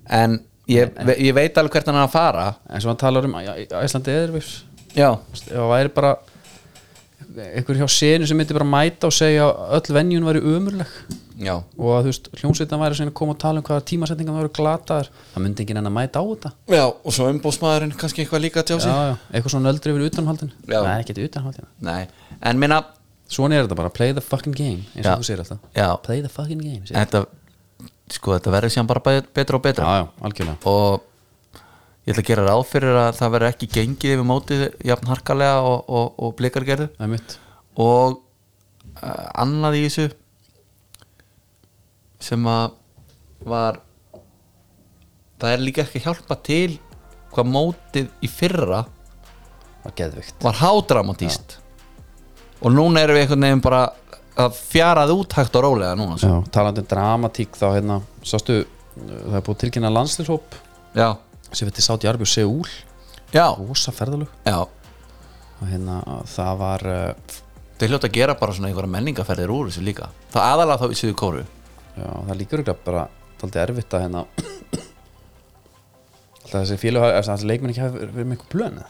S3: en ég, ég veit alveg hvert hann er að fara
S2: eins og hann talar um Æ- Æ- Æslandi Eðurvís
S3: Já,
S2: það væri bara einhver hjá senu sem myndi bara mæta og segja að öll venjun væri umurleg
S3: já,
S2: og að þú veist, hljómsveitan væri sem að koma og tala um hvaða tímasetningar væri glataðar það myndi enginn enn að mæta á þetta
S3: já og svo umbóðsmaðurinn kannski eitthvað líka að tjá
S2: já, já. eitthvað svona öldri yfir utanhaldin
S3: Já.
S2: það er ekki utanhaldin
S3: Nei, en minna
S2: svona er þetta bara, play the fucking game eins og
S3: Já.
S2: þú segir alltaf
S3: Já.
S2: play the fucking game segir.
S3: þetta, sko, þetta verður síðan bara bet- betra og
S2: já,
S3: betra
S2: já, algjörlega
S3: og ég ætla að gera ráð fyrir að það verður ekki gengið yfir mótið jafn harkalega og, og, og blikar gerðu
S2: það er mitt
S3: og uh, annað í þessu sem að var það er líka ekki að hjálpa til hvað mótið í fyrra
S2: var geðvikt
S3: var hádramatíst og núna erum við einhvern veginn bara að fjarað út hægt og rólega núna sko.
S2: já, talandi um dramatík þá hérna sástu, uh, það er búið að tilkynna landslýshóp
S3: já,
S2: sem við til sátt í Arbi og Seúl
S3: já,
S2: rosa ferðalög
S3: já
S2: og hérna það var uh,
S3: þau hljóta að gera bara svona einhverja menningaferðir úr þessu líka það aðalega þá í suðu kóru
S2: já, það líkur ekki bara taldi erfitt að hérna alltaf þessi félag alltaf þessi leikmenn ekki hafi verið með einhver plöna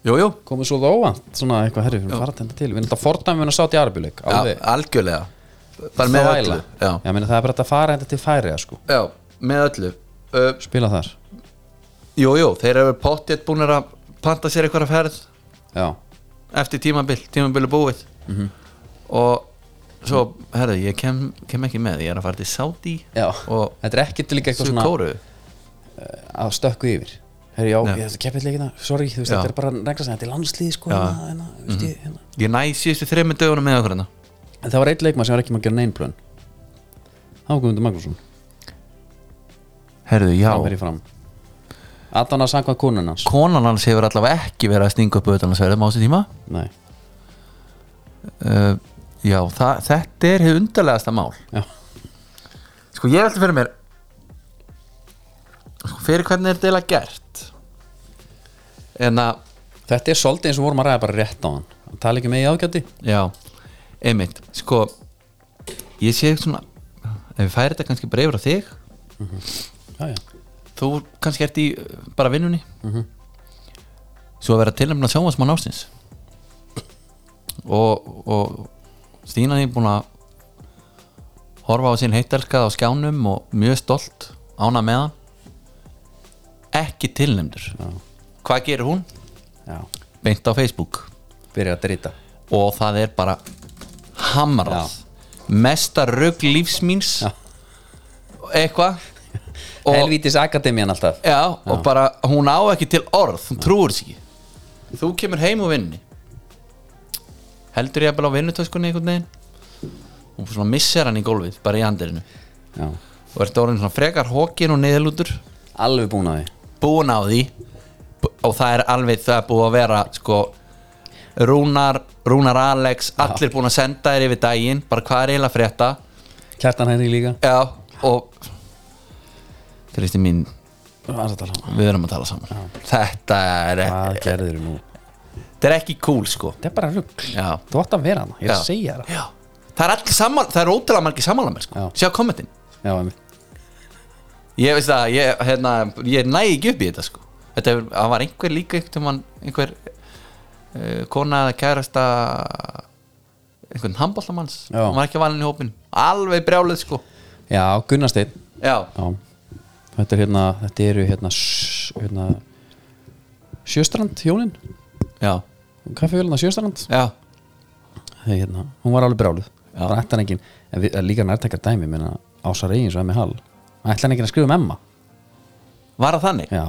S3: jú, jú,
S2: komið svo það óvænt svona eitthvað herri við erum að fara þetta til við erum alltaf fordæmi við erum að sátt í Arbileik
S3: já, algjörlega bara með öllu já,
S2: já, meni, það er bara hægt að fara þetta til færiða sko
S3: já með öllu uh,
S2: spila þar
S3: Jú, jú, þeir eru pottið búinir að panta sér eitthvað að ferð
S2: já
S3: eftir tímabil, tímabil er búið
S2: Mhm.
S3: og svo, herðu, ég kem, kem ekki með ég er að fara til Saudi
S2: já
S3: og
S2: þetta er ekkert líka eitthvað
S3: svo
S2: svona
S3: kóru
S2: að stökku yfir herri já,
S3: Nei.
S2: ég þetta keppið leikina sorry þú veist
S3: Já.
S2: þetta er bara regla sem þetta er landslið sko
S3: Já. Mhm.
S2: hérna, hérna, mm -hmm. hérna.
S3: ég næ síðustu þreymur dögunum með okkur hérna
S2: en það var eitt leikmann sem var ekki með að gera neinn plön það var Guðmundur Magnússon
S3: herðu, já,
S2: hann verið fram Adana sangvað konan hans
S3: konan hans hefur allavega ekki verið að stinga upp auðvitaðnarsverðum á þessu tíma
S2: Nei,
S3: uh, já, það, þetta er hefur undarlegasta mál
S2: já,
S3: sko, ég velti fyrir mér sko, fyrir hvernig er þetta eiginlega gert en að
S2: þetta er svolítið eins og vorum að ræða bara rétt á hann Hann tala ekki með í ágæti
S3: Já, einmitt Sko, ég sé svona Ef við færi þetta kannski breyfur á þig
S2: já, já.
S3: Þú kannski ert í uh, bara vinnunni Svo að vera tilnæmna sjónvarsmann ástins Og, og Stína er búin að Horfa á sín heittelskað á skjánum Og mjög stolt ána með hann Ekki tilnæmdur Hvað gerir hún?
S2: já.
S3: Beint á Facebook
S2: byrjar að drita
S3: og það er bara hamrað mesta rugg lífsmýns
S2: Já.
S3: eitthvað Og-
S2: helvítis akademian alltaf
S3: já, og bara hún á ekki til orð hún trúir sig ekki þú kemur heim og vinni heldur ég að bara á vinnutöskunni einhvern veginn hún bara svona missir hann í gólfið bara í andirinu
S2: já.
S3: og ert orðin svona frekar hókin og niðurlútur
S2: alveg búin að því
S3: búin á því B- og það er alveg það er búið að vera sko Rúnar, Rúnar Alex allir búin að senda þér yfir daginn bara hvað er eiginlega að frétta
S2: kjartan henni líka
S3: Já, og Kristi mín,
S2: Hvað er að tala um?
S3: við erum að tala saman Þetta er, e-
S2: hvað gerður nú
S3: þetta er ekki cool sko
S2: þetta er bara rugg
S3: Já.
S2: þú átt að vera hana ég er að
S3: Já.
S2: segja það
S3: Já, það er allir saman Það er ótrúlega margir samanlega mér
S2: Já.
S3: sko Sjá kommentin
S2: já, einmitt.
S3: Ég veist það, ég, hérna, ég næ ekki upp í þetta sko Þetta er, það var einhver líka einhvern, mann, einhver uh, kona eða kærasta einhvern handbóltamanns
S2: Já.
S3: hann var ekki valin í hópin alveg brjálið sko
S2: já Gunnarsteinn
S3: Já,
S2: já. þetta er hérna þetta eru hérna, s- hérna sjöstrand hjónin
S3: já,
S2: kaffevélina sjöstrand
S3: já,
S2: Hey, hérna, hún var alveg bráluð
S3: Já.
S2: bara ætti hann engin, en við, líka nærtækar dæmi minna Ása Reyins og Emmi Hall ætti hann engin að skrifa um Emma
S3: var það þannig
S2: já,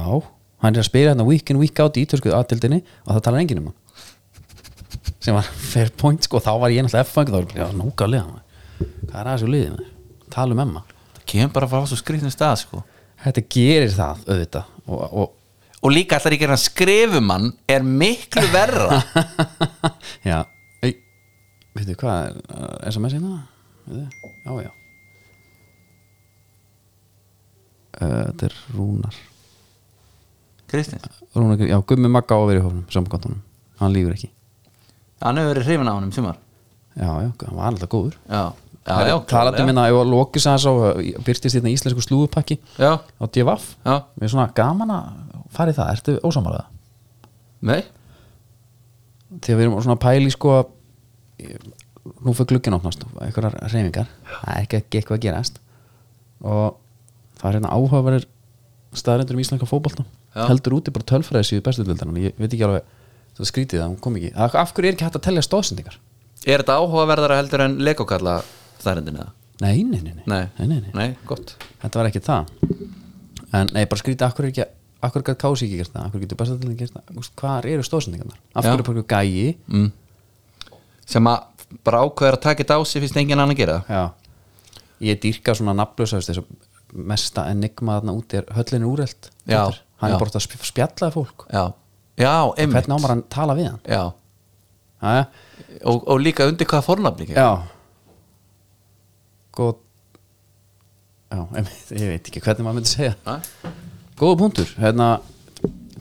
S2: hann er að spila hérna week in week out í ítörskuð aðtildinni og það talar engin um hann sem var fair point sko, þá var ég náttúrulega F-fang þá var ég bara, já, nógalega maður. hvað er að þessu liðið með, tala um Emma
S3: Það kemur bara frá svo skrýtnum stað sko
S2: þetta gerir það auðvitað og, og
S3: og líka allar ekki að skrifum hann er miklu verra
S2: já Ei, veitu hvað er uh, SMS hérna Veitu? já já Uh, þetta er Rúnar
S3: Kristins,
S2: Rúnar, já, Gummi Magga á að vera í hófnum samkvæmtunum, hann lífur ekki
S3: hann hefur verið hrifin á hann um sumar
S2: já, já, hann var alltaf góður
S3: já, já, já,
S2: talaðu
S3: klárlega.
S2: minna, ef að lokið sæðs á uh, byrtist hérna íslensku slúðupakki
S3: já,
S2: á DVF,
S3: já,
S2: mér er svona gaman að fara í það, ertu ósamarlega
S3: nei
S2: þegar við erum svona að pæla í sko ég- nú fyrir glukkin opnast og einhverjar reyfingar, það er ekki ekki eitthvað að gerast og það er hérna áhugaverðir staðarendur um íslenska fótbolta
S3: Já.
S2: heldur úti bara tölfræði síðu bestu dildan ég veit ekki alveg, það er skrítið að hún kom ekki af af hverju er ekki hægt að telja stóðsendingar?
S3: er þetta áhugaverðara heldur en legokalla þærendin eða?
S2: Nei, nei, nei, nei.
S3: Nei.
S2: Nei, nei, nei.
S3: nei, gott
S2: þetta var ekki það en nei, bara skrítið, af hverju er ekki af hverju gæt kási ekki gert það, af hverju getur bestu dildan gert það hvað eru stóðsendingarnar? af
S3: Já.
S2: hverju er bara einhver gæi
S3: sem að bara ákveður að taka þetta á sig finnst enginn annan að gera það
S2: Já Ég dýrka svona nafnlösa veist, þess að mesta enigma þarna úti er höllin úrelt
S3: Já,
S2: Hann
S3: já.
S2: er bara að sp- spjalla við fólk
S3: já, já, einmitt
S2: Hvernig ámar hann tala við hann?
S3: já,
S2: Aja,
S3: og, og líka undir hvaða fornafni
S2: já Góð Já, einmitt, ég veit ekki hvernig maður myndi segja
S3: Nei.
S2: Góða punktur hérna,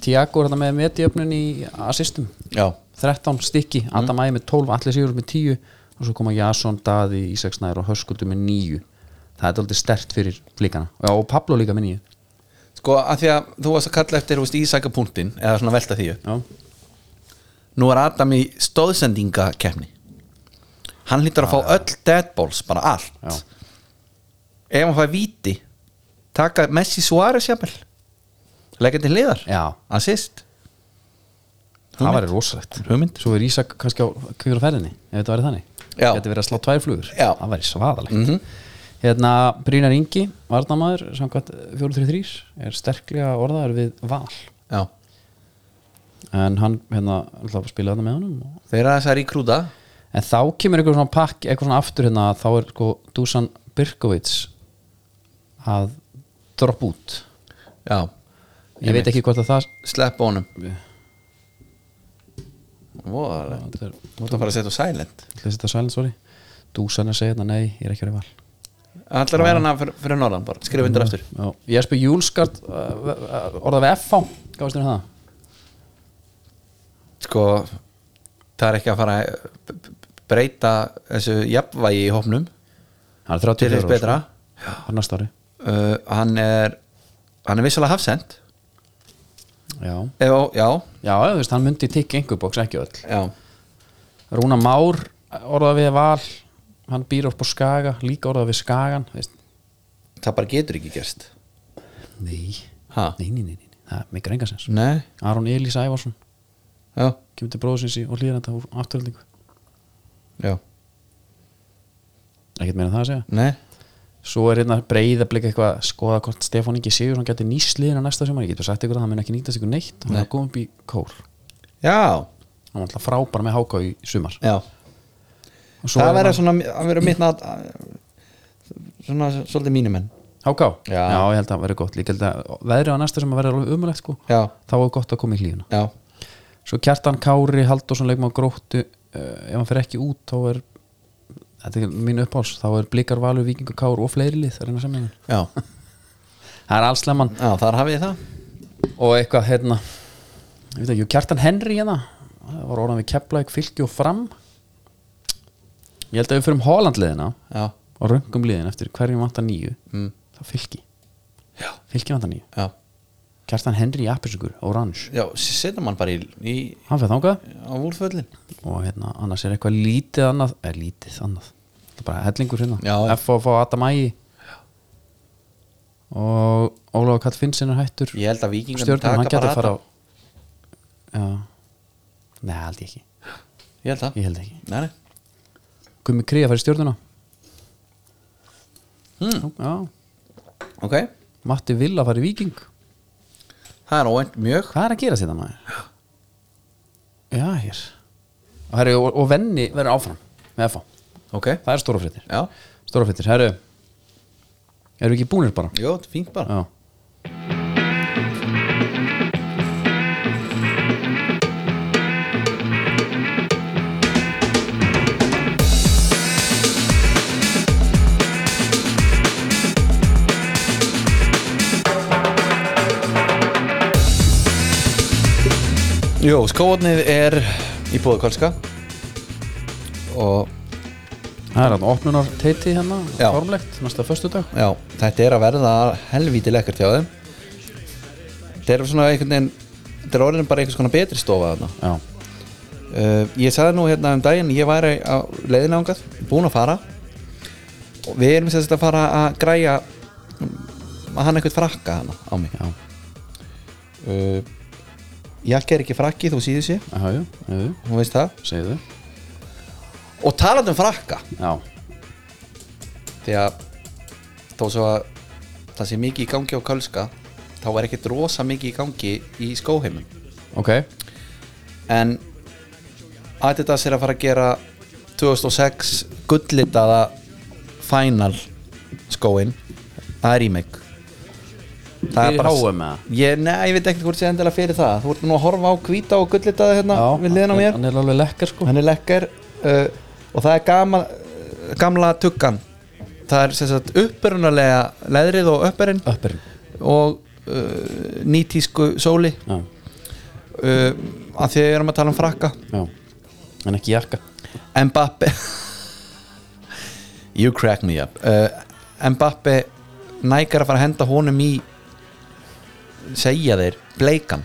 S2: Tiago er hérna með metjöfnun í assistum
S3: já,
S2: 13 stykki,
S3: Mhm.
S2: Adam Ægir með 12 Allir Sigur með 10 og svo koma Jason, Daði, Ísaksnæður og Höskuldur með 9 það er aldrei stert fyrir flíkana Já, og Pablo líka með 9
S3: sko að því að þú varst að kalla eftir þú veist, ísakapunktin eða svona velta því upp
S2: Já,
S3: nú er Adam í stóðsendingakefni hann hlýtur að fá öll deadballs, bara allt
S2: já,
S3: ef hann fær víti taka Messi Suárez jafnvel leggja til hliðar,
S2: já
S3: assist
S2: það væri rosalegt
S3: Hugmynd.
S2: Svo er Ísak kannski á kvíður á ferðinni ef þetta væri þannig
S3: Já.
S2: Gæti verið að slá tvær flugur
S3: Já. Mhm.
S2: Það væri svaðalegt Hérna, Brynjar Ingi, varnamaður samkvæmt 433 er sterklega orðaður við val
S3: já.
S2: en hann, hérna, alltaf spilaði þarna með honum og
S3: þeir eru aðeins að ríkrúta
S2: En þá kemur eitthvað svona pakk, eitthvað svona aftur hérna að þá er sko Dusan Birkovits að droppa út.
S3: já,
S2: Ég veit ekki hvort að það
S3: slepp honum voðalega
S2: Þetta er-
S3: þú ert að fara að setja á silent
S2: ætlaði að setja silent, sorry. Dusan er að segja hérna, nei, ég er ekki að vera í val.
S3: hann ætlar að vera hann fyrir, fyrir norðan bara, skrifa undir aftur
S2: Já, Jesper Júlskart uh, orðað við FH, gafast þér það?
S3: sko, það er ekki að fara að breyta þessu jafnvægi í hópnum
S2: Hann er 34
S3: til þess
S2: ára,
S3: betra
S2: sko. Hann er næsta ári.
S3: uh, hann er hann er vissalega hafsend
S2: Já,
S3: Ef, á- já,
S2: já, þú veist, hann myndi tikka einhver bóks, ekki öll.
S3: já,
S2: Rúna Már orðað við val, hann býr upp á Skaga, líka orðað við Skagan, þú veist.
S3: það bara getur ekki gerst
S2: Nei,
S3: Ha?
S2: nei, nei, nei, nei. það er mikil engasens.
S3: nei,
S2: Aron Elís Ævarsson
S3: já,
S2: kemur til bróðsins í og hlýðir þetta úr afturöldingu
S3: já
S2: ekkert meira en það að segja
S3: nei,
S2: svo er hérna breyð að blika eitthvað skoða hvort Stefán Ingi Sigurðsson geti nýsliðina næsta sumar ég getur sagt ykkur að hann mun ekki nýtast ykkur neitt hann er að koma upp í kól
S3: já,
S2: hann var alltaf frábær með háká í sumar
S3: já
S2: Og svo
S3: það
S2: er
S3: verður
S2: hann-
S3: svona að vera mitt nat svona svolítið mínum en
S2: háká, já.
S3: Já.
S2: ég held að það verður gott líka held að veðrið á næsta sumar verður alveg umulegt sko
S3: já,
S2: þá er gott að koma í hlífuna
S3: já,
S2: svo Kjartan Kári Halldórsson leikmaður gróttu uh, ef hann fer ekki út þá er þetta er mín uppháls, þá er blikar valur, vikingur kár og fleiri lið að reyna að semja við hann.
S3: já,
S2: það er alls leman
S3: já þar hafið þið það
S2: og eitthvað hérna ég veit ekki, Kjartan Henry hérna það var orðan við Keflæk, Fylki og Fram ég held að við fyrir Holland liðina
S3: já,
S2: og röngum liðin eftir hverjum vantar nýju mm. þá Fylki Já. Fylki vantar nýju,
S3: já,
S2: Kjartan Henry Appisungur, Orange,
S3: já, setja mann bara í, í
S2: hann fyrir þangað
S3: á úrföllin
S2: og hérna annars er eitthvað lítið annað er lítið annað það er bara hellingur hérna
S3: Já, já.
S2: F.O.F. Adam Ægi og Ólafa Katt Finnsen er hættur
S3: ég held að vikingarnir
S2: stjórnum hann
S3: taka
S2: geti
S3: bara
S2: fara á já
S3: þetta
S2: nei, held ég ekki
S3: ég held það
S2: ég held ekki
S3: nei, nei.
S2: Gumi Kría fær í stjórnuna hmm. já
S3: ok,
S2: Matti Villa fær í Viking
S3: það er óvænt mjög
S2: hvað er að gera sér það maður já hér og, herri, og, og venni verður áfram með F.O.
S3: ok,
S2: það er stóra fréttir
S3: já,
S2: Stóra fyrtir, herru Erum við ekki búnir bara?
S3: jú, þetta er fínt bara
S2: Já
S3: Jó, skóðnið er í bóðu kvalska og
S2: Það er hann opnunar teiti hérna
S3: Já.
S2: Formlegt, næsta föstu dag
S3: já, þetta er að verða helvíti lekkert hjá þeim Þetta er svona einhvern veginn þetta er orðin bara einhvers konar betri stofa þarna
S2: Já,
S3: uh, Ég sagði nú hérna um daginn ég væri á leiðin ángað, búin að fara og við erum sérst að fara að græja mm, að hann eitthvað frakka hana á mig
S2: já,
S3: uh, Jakki er ekki frakki, þú síður sér
S2: já, já, já, já.
S3: hún veist það
S2: segðu
S3: og talandi um frakka
S2: Já,
S3: því að þó svo að það sé mikið í gangi á kölska þá er ekkert rosa mikið í gangi í skóheimum
S2: ok
S3: en Adidas er að fara að gera 2006 gullitaða final skóin það er remake það
S2: Fyrir HM eða?
S3: ég, nei, ég veit ekkert hvort sé endilega fyrir það þú ert nú að horfa á hvíta og gullitaða hérna
S2: já,
S3: við liðin á
S2: hann-
S3: mér
S2: Hann er alveg lekkar sko
S3: hann er lekkar uh, og það er gama, uh, gamla tuggan það er sem sagt uppörunalega leðrið og uppörun
S2: Öppurinn
S3: og uh, nýtísku sóli
S2: Já,
S3: uh, að því að við erum að tala um frakka
S2: já En ekki jakka
S3: Mbappe you crack me up uh, Mbappe nægar að fara að henda honum í segja þeir bleikan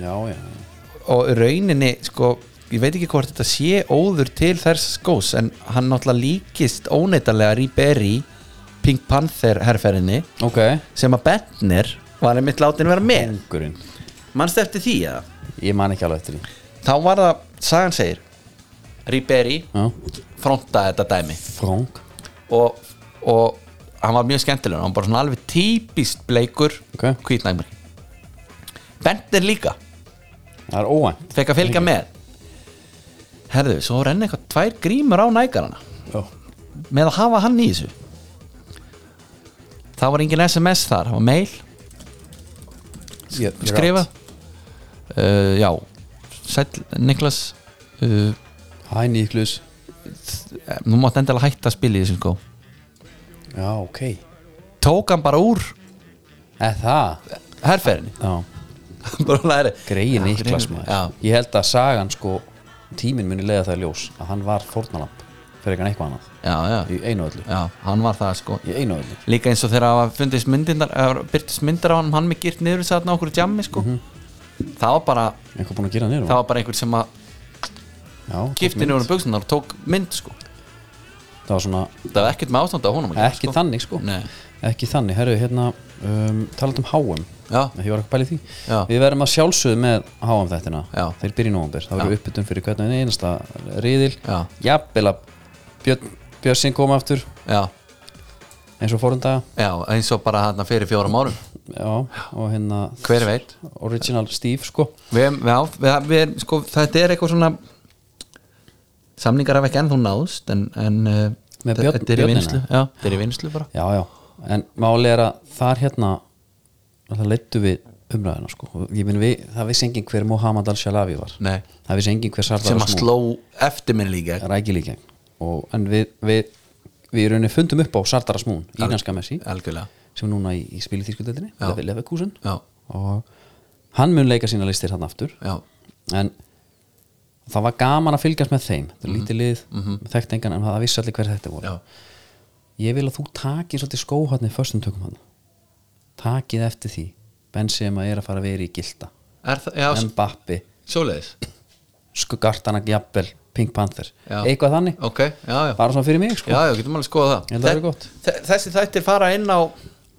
S2: Já, já, já.
S3: og í rauninni sko, ég veit ekki hvort þetta sé óður til þess skós en hann náttúrulega líkist óneittalega Ríberi Pink Panther herrferinni
S2: ok
S3: sem að Bettner var einmitt látin vera með
S2: Engurinn
S3: mannstu eftir því eða?
S2: Ég man ekki alveg eftir því
S3: þá var það, sagan segir Ríberi
S2: Já,
S3: fronta þetta dæmi
S2: Frank
S3: og, og hann var mjög skemmtilegur hann var bara svona alveg típist bleikur
S2: Ok.
S3: hvítnæmur Bettner líka
S2: Það er óvænt
S3: fekk að fylgja með herðu, svo renna eitthvað tvær grímur á nægarana
S2: Já,
S3: með að hafa hann í þessu það var engin sms þar, það var mail
S2: ég,
S3: skrifa uh, já, sæll Niklas uh,
S2: Hæ Niklus
S3: nú mátt endilega hætta að spila í þessu sko
S2: Já, ok
S3: tók hann bara úr
S2: Eða það
S3: herrferðinni
S2: Já
S3: bara læri
S2: greið Niklas
S3: greyin-
S2: maður
S3: já,
S2: ég held að sagan sko tíminn muni leiða það í ljós að hann var fórnalamp fyrir eitthvað eitthvað annað
S3: já, já,
S2: í einu og öllu
S3: já, hann var það sko
S2: í einu og öllu
S3: líka eins og þegar hafa fundist myndindar eða byrtist myndar á hann, hann með girt niður þarna á okkur djammi sko
S2: Mhm.
S3: það var bara
S2: eitthvað búin að gera niður um
S3: það var bara einhver sem að
S2: já,
S3: gifti niður um buksunar og tók mynd sko
S2: það var svona
S3: það var ekkert með ástand á honum að gera,
S2: ekki
S3: sko.
S2: þannig sko
S3: Nei.
S2: ekki þannig herru hérna um, talat um háum
S3: Já.
S2: ég var ekki bælið því
S3: Já.
S2: við verðum að sjálfsögðu með háum þættina
S3: Já.
S2: þeir byrja í nóvambir það verður uppbytun fyrir hvernig einasta riðil
S3: Já.
S2: jafnvel að Björn Björnsinn kom aftur
S3: já,
S2: eins og fórum daga
S3: já, eins og bara hérna fyrir fjórum árum
S2: Já, og hérna
S3: hver veit
S2: Original Steve sko
S3: við, já, við, við, sko, þetta er eitthvað svona samningar af ekki ennþá náðst en, en uh,
S2: Með
S3: þe-
S2: björn-
S3: þetta er í
S2: björnina?
S3: vinslu já, þetta er í vinslu bara
S2: Já, já, en máli er að þar hérna það leittu við umræðina sko Og ég minn við, það vissi engin hver Mohamed Al-Shalavi var
S3: Nei.
S2: það vissi engin hver Sardar
S3: sem að sló eftirminn líka
S2: rækilíkja og, en við, við, við í rauninni fundum upp á Sardar Asmún, íranska Messi
S3: algjörlega
S2: sem er núna í, í spil í þýskutöldinni
S3: Já.
S2: Leverkusen
S3: já,
S2: og hann mun leika sína listir hann aftur
S3: já,
S2: en það var gaman að fylgjast með þeim þetta er lítið lið, þekkt engan en það vissi allir hver þetta voru
S3: Mhm. já,
S2: ég vil að þú takir svolítið skóhatni förstum tökum hann takið eftir því Benzema er að fara að vera í gilda
S3: er það, já, en,
S2: Mbappi,
S3: svoleiðis
S2: Skugartana Gjabel Pink Panther,
S3: Já.
S2: eitthvað þannig
S3: ok, já, já,
S2: bara svona fyrir mig sko,
S3: já, já, getum alveg skoða það
S2: Ég held að það væri
S3: Þe-
S2: gott.
S3: þe- þessi þættir fara inn á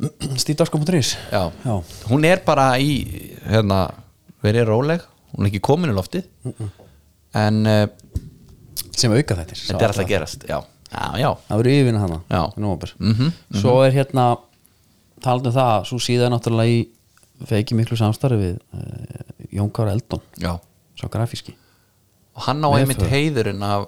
S2: stíðdarsko.is
S3: já,
S2: Já.
S3: hún er bara í hérna, verið róleg hún er ekki komin í loftið en uh,
S2: sem auka þættir
S3: þetta er alltaf að gerast já, já, já,
S2: það verður yfirna hana
S3: Já. Mhm,
S2: í nóvember svo er hérna talandum það, svo síðan náttúrulega í feiki miklu samstarfi við uh, Jón Kára Eldon,
S3: já.
S2: sá grafíski
S3: og hann á
S2: Með
S3: einmitt
S2: þau.
S3: heiðurinn af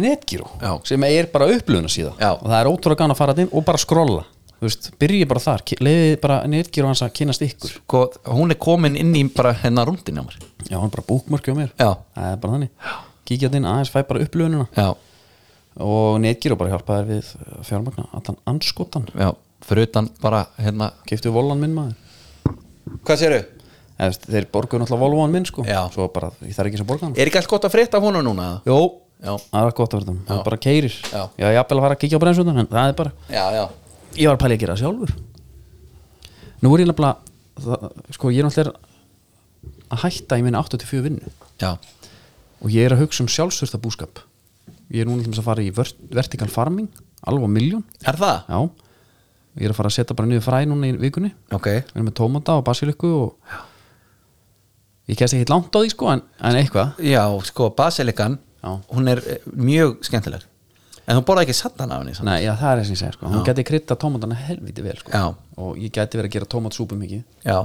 S2: Netgyro,
S3: Já.
S2: sem er bara upplöðuna síðan
S3: Já.
S2: og það er ótrúlega gana að fara þarna inn og bara skrolla þú veist, byrjið bara þar, ki- leiðið bara Netgyro hans að kynast ykkur
S3: sko, hún er komin inn í bara hennar rúndin á mér
S2: já, hann bara búkmörkja á mér,
S3: Já.
S2: það er bara þannig kíkja þarna inn, aðeins fæ bara upplöðununa
S3: já,
S2: og Netgyro bara hjálpa þær við eh, fjármagna, allan anskotan
S3: já, fyrir utan bara hérna
S2: keiftu volan minn maður
S3: hvað séru?
S2: Eða, þú veist, þeir borguðu náttúrulega Volvoan minn sko
S3: Já.
S2: svo bara, ég þarf ekki sem borga hann
S3: er ekki allt gott að frétta af honum núna?
S2: Jó,
S3: Já.
S2: það er gott að verða það bara keirir,
S3: Já.
S2: ég er jafnvel að fara að kíkja á brennsundan en það er bara,
S3: já, já,
S2: ég var að pæla í að gera það sjálfur Nú er ég nefnilega það- sko, ég er náttúrulega að hætta í minni 84 vinnu
S3: já,
S2: og ég er að hugsa um sjálfsvörsta búskap ég er núna til dæmis að fara í vert, vertical farming alveg á miljón,
S3: er það?
S2: já ég er að fara að setja bara niður fræ núna í vikunni
S3: ok,
S2: við erum með tómata og basiliku og ég kæst ekki langt á því sko en, en eitthvað
S3: já, sko, basilikan
S2: Já.
S3: hún er eh, mjög skemmtileg en þú borða ekki sattan af henni samt.
S2: Nei, já, það er það sem ég segir sko hún gæti krytta tómatana helviti vel sko
S3: Já.
S2: og ég gæti verið að gera tómatsúpu mikið
S3: já,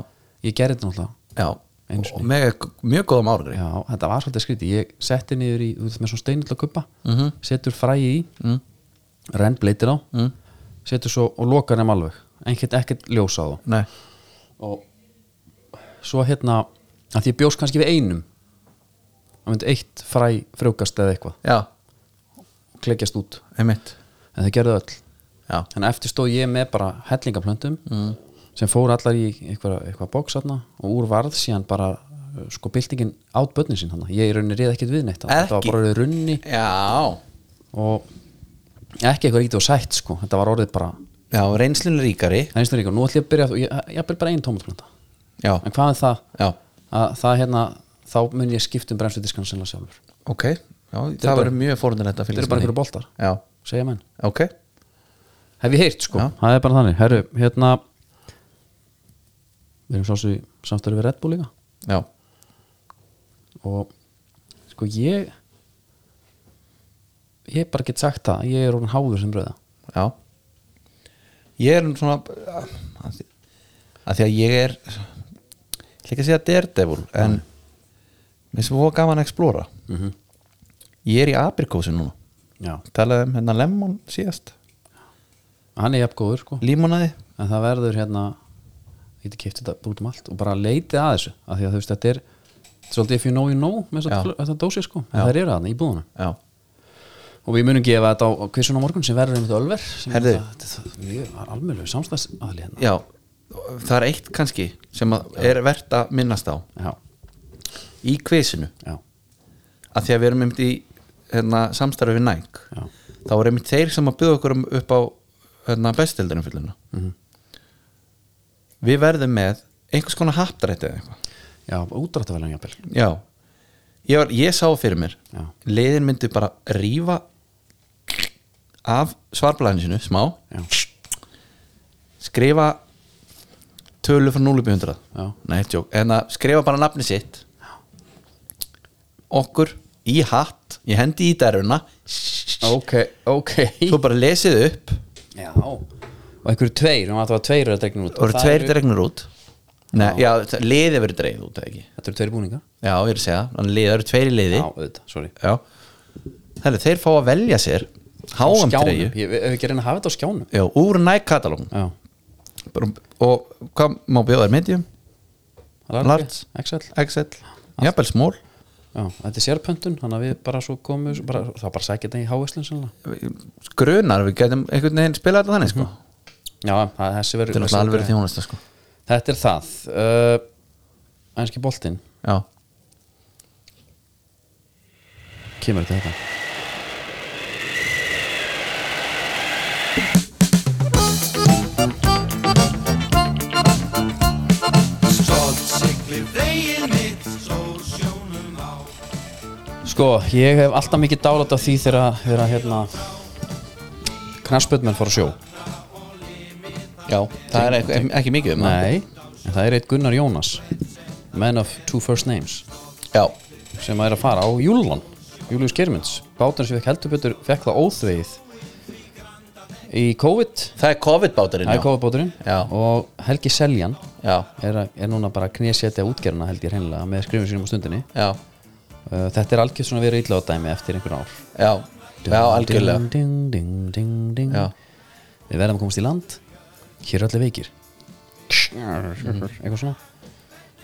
S2: ég gerði þetta náttúrulega
S3: já,
S2: Einu sinni.
S3: og með mjög góðum árangri
S2: já, þetta var svolítið skrítið ég setti niður í, þú veist með svona steinilega kuppa mm -hmm. setur fræið í mm. renn bleitir á mm. setur svo og lokar þeim alveg ekkert, ekkert ljós á þá
S3: nei,
S2: og svo hérna að því ég bjóst kannski við einum það myndi eitt fræ frjókast eða eitthvað
S3: já,
S2: og klekjast út
S3: einmitt
S2: en það gerðu öll
S3: já,
S2: Þannig að eftir stóð ég með bara hellingaplöntum
S3: Mm.
S2: sem fór allar í eitthvað, eitthvað bóks þarna og úr varð síðan bara uh, sko byltingin át börnin sín þarna. Ég í rauninni reyði ekkert við neitt þarna. Þetta var
S3: Ekki?
S2: bara orðið runni
S3: já
S2: og ekki eitthvað rítið og sætt sko. Þetta var orðið bara
S3: já, reynslun ríkari
S2: Það er einstaklega ríka. Nú ætlum ég að byrja og ég, ég byrja bara einn tómatplönta.
S3: já,
S2: En hvað er það?
S3: Já.
S2: Að það hérna, þá mun ég skipta um bremsudiskan sennilega sjálfur.
S3: ok já, það
S2: bara-
S3: verður mjög fórhundin þetta
S2: Þetta eru bara einhverju boltar.
S3: já,
S2: Segja menn.
S3: ok,
S2: hef ég heyrt sko,
S3: Já.
S2: það er bara þannig herru, hérna við erum sásu samstæðu við Red Bull líka
S3: já,
S2: og sko ég ég bara get sagt það ég er orðin háður sem bröða
S3: já ég er svona að því- að því að ég er ég ætla ekki að segja daredevil en mér sem fóða gaman að explora ég er í aprikósi núna
S2: já,
S3: talaði um hérna lemon síðast
S2: hann er jafngóður sko
S3: límonaði
S2: en það verður hérna ég geti kiptið þetta út um allt og bara leitið að þessu af því að þú veist þetta er svolítið if you know you know með
S3: Já.
S2: þetta dósi sko en það eru þarna í búðuna
S3: já,
S2: og við munum gefa þetta á kvissun á morgun sem verður einmitt Ölver sem er
S3: Herðu.
S2: þetta- þetta er mjög almjölu samstæðsaðli hérna
S3: já, það er eitt kannski sem að er verðt að minnast á
S2: já,
S3: í kvisinu
S2: já,
S3: að því að við erum einmitt í hérna, samstarfi við Nike
S2: Já.
S3: þá er einmitt þeir sem að byggja okkur um- upp á hérna, bestildinu fylluna
S2: Mhm.
S3: við verðum með einhvers konar haptarætti eða eitthvað
S2: já útrættaveljan jafnvel
S3: já, ég, var, ég sá fyrir mér
S2: Já.
S3: liðin myndi bara rífa af svarblæðinu sinu smá,
S2: Já.
S3: skrifa tölu frá 0.100
S2: Já.
S3: Nei, tjók, en að skrifa bara nafni sitt okkur í hatt ég hendi í deruna
S2: ok, ok
S3: svo bara lesið upp
S2: já, og einhverju tveir og það var tveir að dregnur út
S3: og eru
S2: það
S3: tveir dregnir út Nei, já, liði verið dreigð út eða ekki
S2: þetta eru tveir búningar
S3: Já, ég er að segja, hann liði, það eru tveir í liði
S2: já, auðvitað, sorry
S3: Já Herri, þeir fá að velja sér háan
S2: skjánum,
S3: dreigju
S2: ég hef ekki reyna að hafa þetta á skjánum
S3: Já, úr Nike katalógum
S2: já,
S3: Bara- og hvað má bjóða þér medium, large,
S2: XL
S3: XL jafnvel smól
S2: já, þetta er sérpöntun, þannig að við bara svo komum bara, það var bara sækja þetta í háveslun sannlega
S3: grunar, við getum einhvern veginn spilað þetta þannig sko,
S2: já, það, þessi
S3: þetta er
S2: verður
S3: náttúrulega alveg þjónasta sko,
S2: þetta er það uh, ænski boltinn
S3: já
S2: kemur þetta hérna? þetta Sko, ég hef alltaf mikið dálat á því þegar, þegar hérna knarsböndmenn fór að sjó
S3: já, það er ekki, ekki mikið um það
S2: Nei, en það er eitt Gunnar Jónas Man of two first names
S3: já,
S2: sem er að fara á Júlon Július Geirmunds, báturinn sem fekk heldur betur fekk það óþvegið í COVID
S3: það er COVID-báturinn
S2: það er COVID báturinn
S3: Já.
S2: og Helgi Seljan
S3: já,
S2: er, að- er núna bara að knésetja útgerðina held ég hreinlega með skrifum sínum á stundinni
S3: já,
S2: uh, þetta er algjörð svona verið illa á dæmi eftir einhvern ár
S3: já já, algjörlega
S2: ding, ding, ding, ding.
S3: já,
S2: við verðum að komast í land hér er allir veikir
S3: Mhm.
S2: eitthvað svona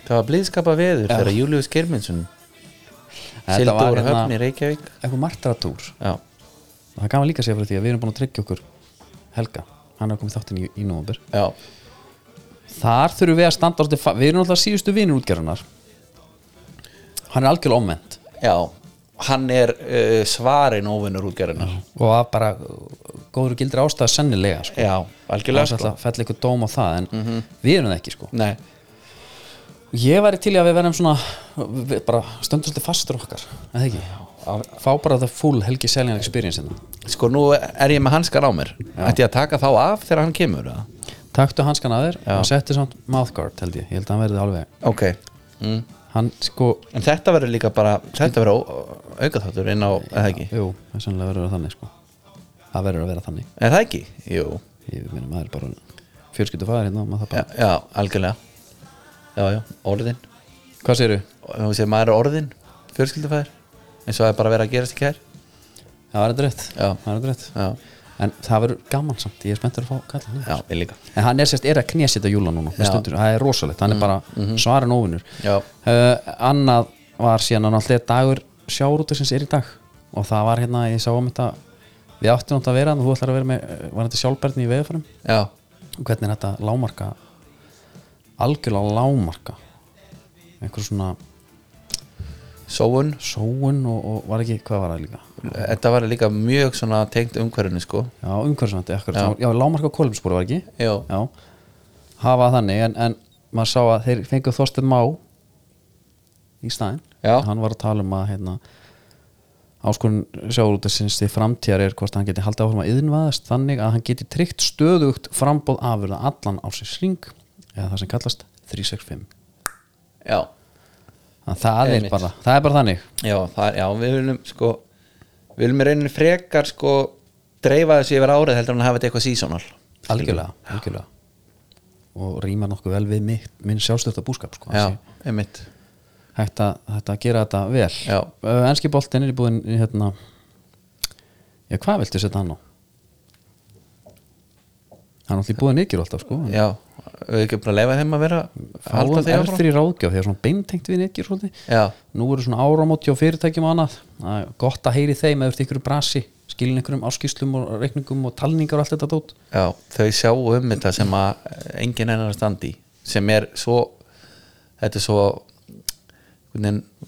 S3: það var blíðskapa veður þegar Július Kirminsson
S2: Þetta var
S3: sildur
S2: hérna-
S3: höfn í Reykjavík
S2: eitthvað martratúr
S3: já,
S2: það er gaman líka að segja frá því að við erum búin að tryggja okkur Helga, hann er komið þáttinn í, í nóvambur
S3: já,
S2: þar þurfum við að standa svolítið fa- við erum alltaf síðustu vinur útgerðunar hann er algjörlega omvend
S3: já hann er uh, svarin óvinnur útgerðinar
S2: og að bara uh, góður og gildir ástæða sennilega sko.
S3: já,
S2: það
S3: algjörlega
S2: er
S3: sko
S2: alltaf að fella ykkur dóm á það en við erum það ekki sko.
S3: nei,
S2: ég væri til í að við verðum svona við bara stöndum svolítið fastur okkar eða ekki fá bara það full Helgi Seljan experience hérna.
S3: Sko nú er ég með hanskar á mér Ætti ég að taka þá af þegar hann kemur eða?
S2: taktu hanskan að þér og setti samt mouthguard held ég, ég held að hann verði alveg
S3: Ok
S2: hann sko,
S3: Mm. En þetta verður líka bara Þetta verður aukaþáttur inn á Eða ekki
S2: jú, það er sannlega verður að vera þannig sko. það verður að vera þannig
S3: Er það ekki? Jú
S2: ég meina maður er bara fjölskyldu fæðar hérna maður það
S3: Já,
S2: bara,
S3: já algjörlega Já, já, orðin
S2: hvað segir þú?
S3: Og þú segir maður er orðin Fjörskildufæður Eins og það er bara að vera að gerast ekki hér
S2: það var þetta rétt,
S3: Já.
S2: það var þetta rétt.
S3: Já,
S2: en það verður gaman samt, ég er spenntur að fá kalla hann
S3: já, ég líka
S2: en hann er sérst, er að knésita júla núna með
S3: Já. Mm-hmm.
S2: stundur, það er rosalegt, hann er bara mm -hmm. svarin óvinnur Eh,
S3: Já.
S2: annað var síðan hann alltaf dagur sjáurútisins er í dag og það var hérna, ég sá um þetta við áttum átt að vera, þarna, þú ætlar að vera með eh, var þetta sjálfbærni í veðurfærum
S3: Já,
S2: og hvernig er þetta lámarka algjörlega lámarka einhver svona
S3: sóun
S2: sóun og, og var ekki, hvað var það líka
S3: Þetta var líka mjög svona tengt umhverfinu sko
S2: Já, umhverfisvændi, akkurat
S3: Já.
S2: Já, já lámarka kólumspúri var ekki
S3: Já,
S2: Já, hafa þannig en, en maður sá að þeir fengu Þorsten Má í staðinn
S3: Já.
S2: Hann var að tala um að hérna, áskorun sjáurútisins til framtíðar er hvort hann geti haldið áfram að yðinvaðast þannig að hann geti tryggt stöðugt frambóð afurða allan á sér sring eða það sem kallast 365
S3: já
S2: Þannig að það er,
S3: Einmitt.
S2: bara, það er bara þannig
S3: Já, það, já við viljum sko við viljum í rauninni frekar sko dreifa þessu yfir árið heldur en að hafa þetta eitthvað seasonal
S2: algjörlega, algjörlega. og rýma nokkuð vel við mitt, minn sjálfstöfta búskap sko,
S3: Já,
S2: Þessi-
S3: einmitt
S2: hægt að, hægt að gera þetta vel
S3: Já.
S2: uh, Enski boltin er búin hérna Já, hvað viltu setja hann á? Hann er alltaf búin ykkur alltaf sko en
S3: Já, við ekki bara leifa þeim að vera halda
S2: Fáum
S3: þeim áfram
S2: erfri ráðgjöf þegar svona beintengt við ykkur svolítið
S3: Já,
S2: Nú eru svona áramóti á fyrirtækjum og annað Það er Gott að heyri þeim eða ykkur brasi skilin einhverjum áskýslum og reikningum og talningar og allt þetta dót
S3: já, þau sjá um þetta sem að enginn hennar standi sem er svo þetta er svo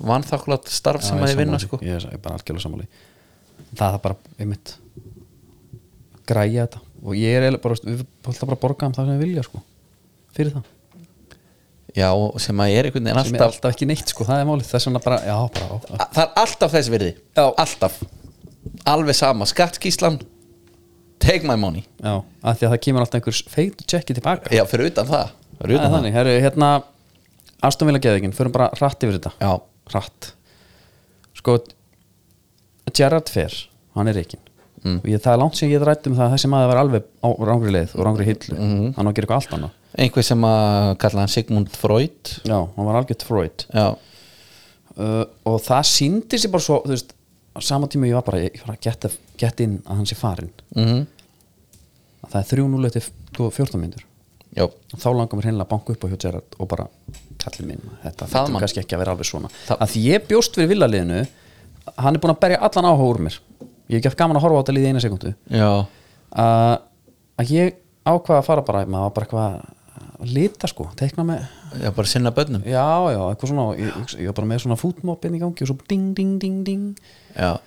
S3: vannþakkulat starf sem
S2: Já,
S3: að
S2: ég
S3: þið vinna
S2: sammála
S3: sko
S2: því. Ég er ég er bara algjörlega sammáli Það er bara, einmitt græja þetta og ég er eiginlega bara, við ætlum bara að borga um það sem við vilja sko, fyrir það
S3: Já, og sem að er einhvern veginn
S2: sem er
S3: alltaf
S2: alltaf ekki neitt sko, það er málið þess vegna bara, já, bara, já,
S3: A- það er alltaf þess virði já. alltaf, alveg sama skattskíslan take my money
S2: já að því að það kemur alltaf einhvers feit tjekki tilbaka
S3: já, fyrir utan það, fyrir
S2: Það er
S3: utan það.
S2: þannig, herru, hérna Aston Villa geðingin, förum bara hratt yfir þetta
S3: Já.
S2: hratt sko Gerard Fer, hann er reikin og ég, það er langt sem ég rætt um það að þessi maður var alveg á rángri leið og rángri hillu hann á að gera eitthvað allt annað
S3: einhver sem að kalla hann Sigmund Freud
S2: já, hann var algjört Freud
S3: já,
S2: uh, og það síndi sér bara svo þú veist, á sama tíma ég var bara ég var að geta, geta inn að hann sé farin mm
S3: Mhm.
S2: -hmm. það er 3-0 eftir sko, 14 myndur
S3: já,
S2: þá langar mér hreinlega að banka upp á hjá Gerard og bara, kallið minn, þetta
S3: Það
S2: þetta
S3: mann.
S2: er kannski ekki að vera alveg svona
S3: Það-
S2: að því ég bjóst fyrir villaliðinu hann er búin að berja allan áhuga úr mér ég hef ekki haft gaman að horfa á þetta liðið í eina sekundu
S3: já
S2: uh, að ég ákvaða að fara bara maður var bara eitthvað að lita sko teikna með,
S3: já, bara sinna bönnum
S2: já já, eitthvað svona ég, ég var bara með svona fútmopin í gangi og svo ding ding ding ding
S3: já,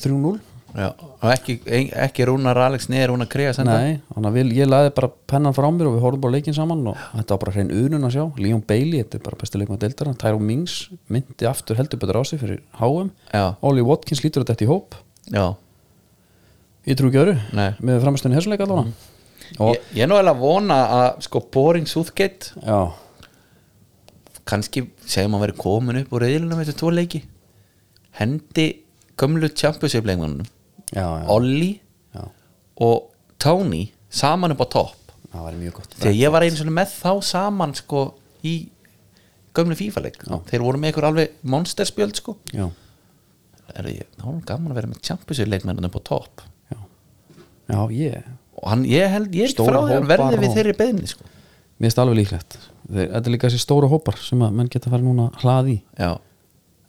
S2: 3-0
S3: já, og ekki, ekki Rúnar Alex neður Rúnar Krea senda
S2: Nei, þannig að við- ég laði bara pennan frá mér og við horfum bara á leikinn saman og þetta var bara hrein unun að sjá Leon Bailey, þetta er bara besti leikum að deildara Tyrone Mings myndi aftur heldur betur á sig fyrir HM
S3: Já.
S2: Ollie Watkins lítur þetta í hóp
S3: já,
S2: Ég trú ekki öru,
S3: Nei. Mhm.
S2: með framistunni hessuleika allavega Og,
S3: ég, ég er nú alveg að vona að sko Boring Southgate
S2: já,
S3: kannski segjum að vera komin upp úr reyðilunum eftir tvo leiki hendi gömlu championship leikmannunum
S2: já, já,
S3: Olli
S2: já
S3: og Tony saman upp á topp
S2: Það var mjög gott
S3: þegar ég var einu svona með þá saman sko í gömlu FIFA leik þeir voru með ykkur alveg monsterspjöld sko
S2: Já,
S3: er ég, þá er gaman að vera með championship leikmannunum upp á topp
S2: já, já, ég
S3: og hann, ég held, ég er ekki
S2: Stóra
S3: frá því að hann
S2: hópar
S3: verði við
S2: og-
S3: þeirri beðinni sko
S2: Mér finnst alveg líklegt Þeir, Þetta er líka þessi stóra hópar sem að menn geta að fara núna að hlaði í
S3: já,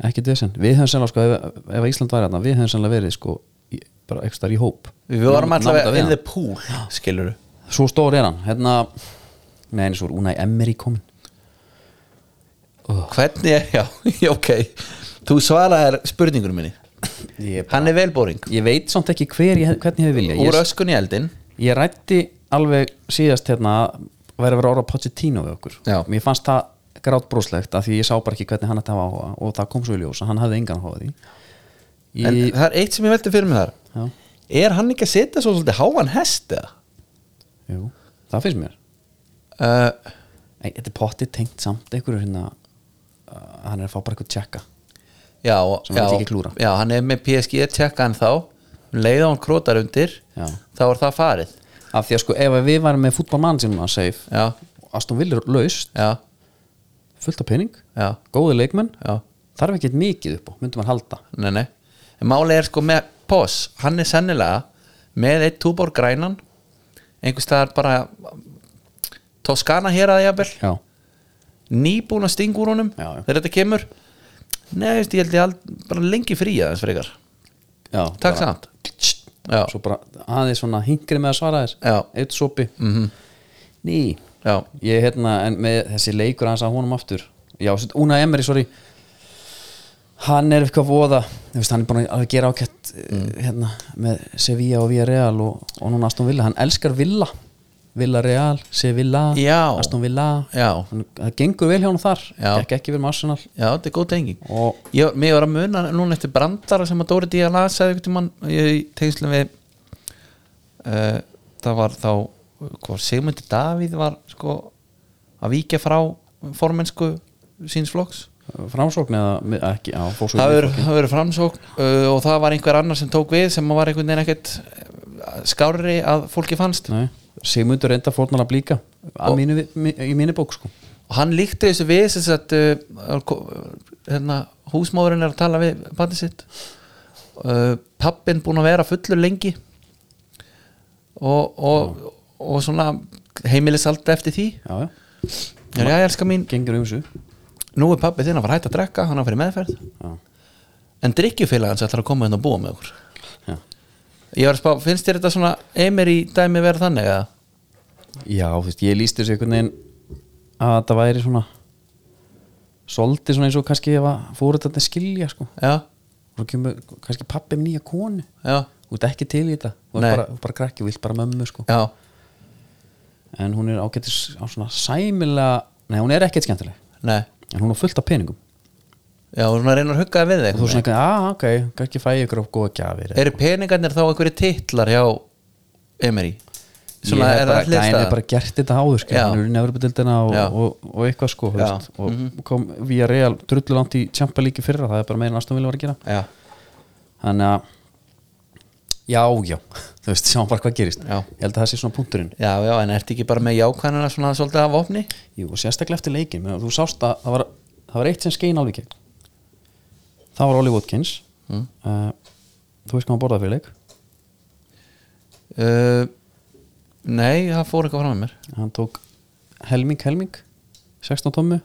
S2: ekki desen, við hefum sennilega sko, ef, ef Ísland væri þarna, við hefum sennilega verið sko, í, bara ekstra í hóp
S3: við vorum
S2: Námda
S3: alltaf
S2: við
S3: in the
S2: hann.
S3: pool, skilur
S2: svo stór er hann, hérna nei, eins og Unai Emery komin
S3: hvernig, já, já, ok þú svaraðir spurningunum minni
S2: ég,
S3: hann er velbóring
S2: ég veit samt ekki hver ég, hvernig ég vilja
S3: úr
S2: ég,
S3: öskun í eldin
S2: ég rætti alveg síðast hérna að væri að vera orða Pochettino við okkur
S3: Já.
S2: mér fannst það grátt broslegt af því ég sá bara ekki hvernig hann ætti að hafa áhuga og það kom svo í ljós að hann hafði engan áhuga á því
S3: en
S2: ég,
S3: það er eitt sem ég velti fyrir mig þar
S2: já,
S3: er hann ekki að setja svo svolítið háan hest eða?
S2: jú, það finnst mér
S3: Uh,
S2: Nei, þetta er potti tengt samt einhverju hérna uh, hann er að fá bara eitthvað tjekka
S3: já,
S2: Sem
S3: já,
S2: hann vill ekki klúðra.
S3: já, hann er með PSG tjekka hann þá leiða hann krótar undir
S2: Já.
S3: þá er það farið
S2: af því að sko ef að við varum með fútbolmann sem var safe
S3: já,
S2: Aston Villa er laust,
S3: já,
S2: fullt af pening
S3: já,
S2: góði leikmenn,
S3: já,
S2: þarf ekkert mikið upp á myndum hann halda
S3: nei, nei en máli er sko með Poss, hann er sennilega með eitt túbór grænan einhvers staðar bara Toskana hér að jafnvel
S2: já,
S3: nýbúin að stinga úr honum
S2: Já, já.
S3: þegar þetta kemur Nei, veist, ég held ég ald, bara lengi frí aðeins frekar
S2: já
S3: Takk
S2: bara,
S3: samt Já,
S2: svo bara aðeins svona hingri með að svara
S3: Já. Mhm.
S2: þér eitt sopi mm -hmm. ný,
S3: já,
S2: ég hérna en með þessi leikur hans að honum aftur já, Una Emery, sorry hann er eitthvað voða þú veist, hann er búin að gera ákett mm. hérna, með Sevilla og Villarreal og, og núna Aston Villa, hann elskar Villa Villarreal, Sevilla
S3: Já.
S2: Aston Villa
S3: Já.
S2: Hann, það gengur vel hjá hann þar,
S3: Já.
S2: gekk ekki vel með Arsenal
S3: já, þetta er góð tenging
S2: Og-
S3: ég, Mér var að muna núna eftir brandara sem að Dóri Díja lasaði einhvern tímann í tengslum við uh, það var þá hvað, Sigmundi Davíð var sko að víkja frá formensku síns flokks
S2: eh, framsókn eða mið- ekki, já, fórsókn
S3: það hefur- það verið framsókn uh, og það var einhver annar sem tók við sem var einhvern veginn ekkert eh, skárri að fólki fannst
S2: Nei, Sigmundur reynda fórnar að blíka að
S3: Og-
S2: mínu, vi- mi- í mínu bók sko
S3: og hann líkti þessu við sem sagt, uh, ko- hérna, húsmóðurinn er að tala við patti sitt uh, pappin búin að vera fullur lengi og, og, og svona heimilis alltaf eftir því
S2: já, já,
S3: já, já, elska mín,
S2: gengur um þessu
S3: nú er pappi þinn að fara hægt að drekka hann að fara í meðferð
S2: Já.
S3: en drikkjufélag hans ætlar að koma hérna og búa með okkur
S2: já.
S3: ég var að spá, finnst þér þetta svona emir í dæmi vera þannig að
S2: Já, þú veist, ég líst þessu einhvern veginn að þetta væri svona svolítið svona eins og kannski ef að fóruð þetta skilja sko
S3: já,
S2: og kemur kannski pappi með nýja konu
S3: já,
S2: þú ert ekki til í þetta, þú
S3: Nei.
S2: ert bara, bara krakki og vilt bara mömmu sko
S3: já
S2: en hún er ágættis á svona sæmilega nei, hún er ekkert skemmtileg
S3: nei,
S2: en hún er fullt af peningum
S3: já, og svona reyna að hugga þér
S2: og
S3: við
S2: þú
S3: þig
S2: svona eitthvað, ah, ok, kannski fæ ég ykkur of góða gjafir
S3: eru peningarnir þá einhverju titlar hjá Emery svona
S2: ég
S3: er
S2: bara,
S3: það allir
S2: gæn er bara
S3: stað
S2: gert þetta áður skil,
S3: Já.
S2: hann er í nefrubutildina og,
S3: Já.
S2: og, og eitthvað sko þú
S3: Já. Mhm.
S2: veist, og kom via Real drullulant í Champa líki fyrra það er bara meira en Aston Villa var að gera
S3: já,
S2: þannig að já, já, þú veist, sjáum bara hvað gerist
S3: Já.
S2: ég held að það sé svona punkturinn
S3: Já, já, en ertu ekki bara með jákvæðina svona svolítið af opni?
S2: Jú, og sérstaklega eftir leikin menn, þú sást að það var, það var eitt sem skein alveg í gegn það var Ollie Watkins
S3: Mm.
S2: uh, þú veist hvað hann borðaði fyrir leik
S3: Uh, nei, það fór eitthvað fram með mér
S2: hann tók helming helming 16 tommu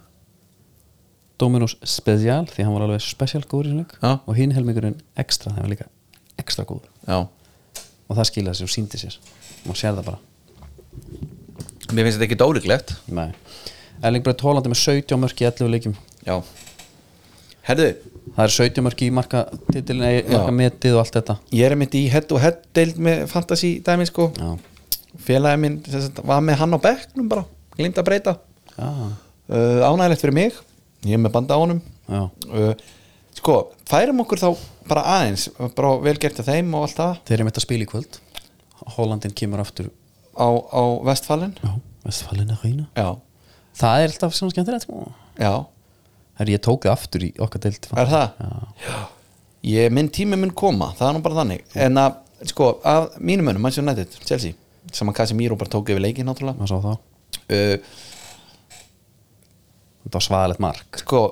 S2: Dominus Special því hann var alveg special góður í þessum leik
S3: Já.
S2: og hinn helmingurinn extra, það var líka extra góður
S3: Já,
S2: og það skilaði sér og síndi sér maður sér það bara
S3: mér finnst þetta ekki dólíklegt
S2: Nei. Erling Breit Hólandi með 17 mörk í 11 leikjum
S3: Já Herðu,
S2: það er 17 mörk í marka, titilin,
S3: Já.
S2: marka metið og allt þetta
S3: ég er mitt í head og head deild með fantasy dæmi sko
S2: Já.
S3: Félagi minn sem sagt, var með hann á bekknum bara Glimt að breyta
S2: Já.
S3: uh, Ánægilegt fyrir mig, ég er með banda á honum
S2: Já.
S3: uh, Sko, færum okkur þá bara aðeins Bara vel gert að þeim og allt það
S2: þeir eru mitt að spila í kvöld Hólandin kemur aftur
S3: Á, á Vestfalin
S2: Já, Vestfalen að reyna
S3: Já,
S2: það er alltaf svona skemmtilegt sko.
S3: já,
S2: Herri, ég tók það aftur í okkar deild
S3: er það? Já Ég, minn tími mun koma, það er nú bara þannig En að, sko, að mínum önum, mannsjón nættið, Chelsea Saman Casemiro bara tók yfir leikinn náttúrulega
S2: maður sá það
S3: uh,
S2: þetta var svaðalegt mark
S3: sko,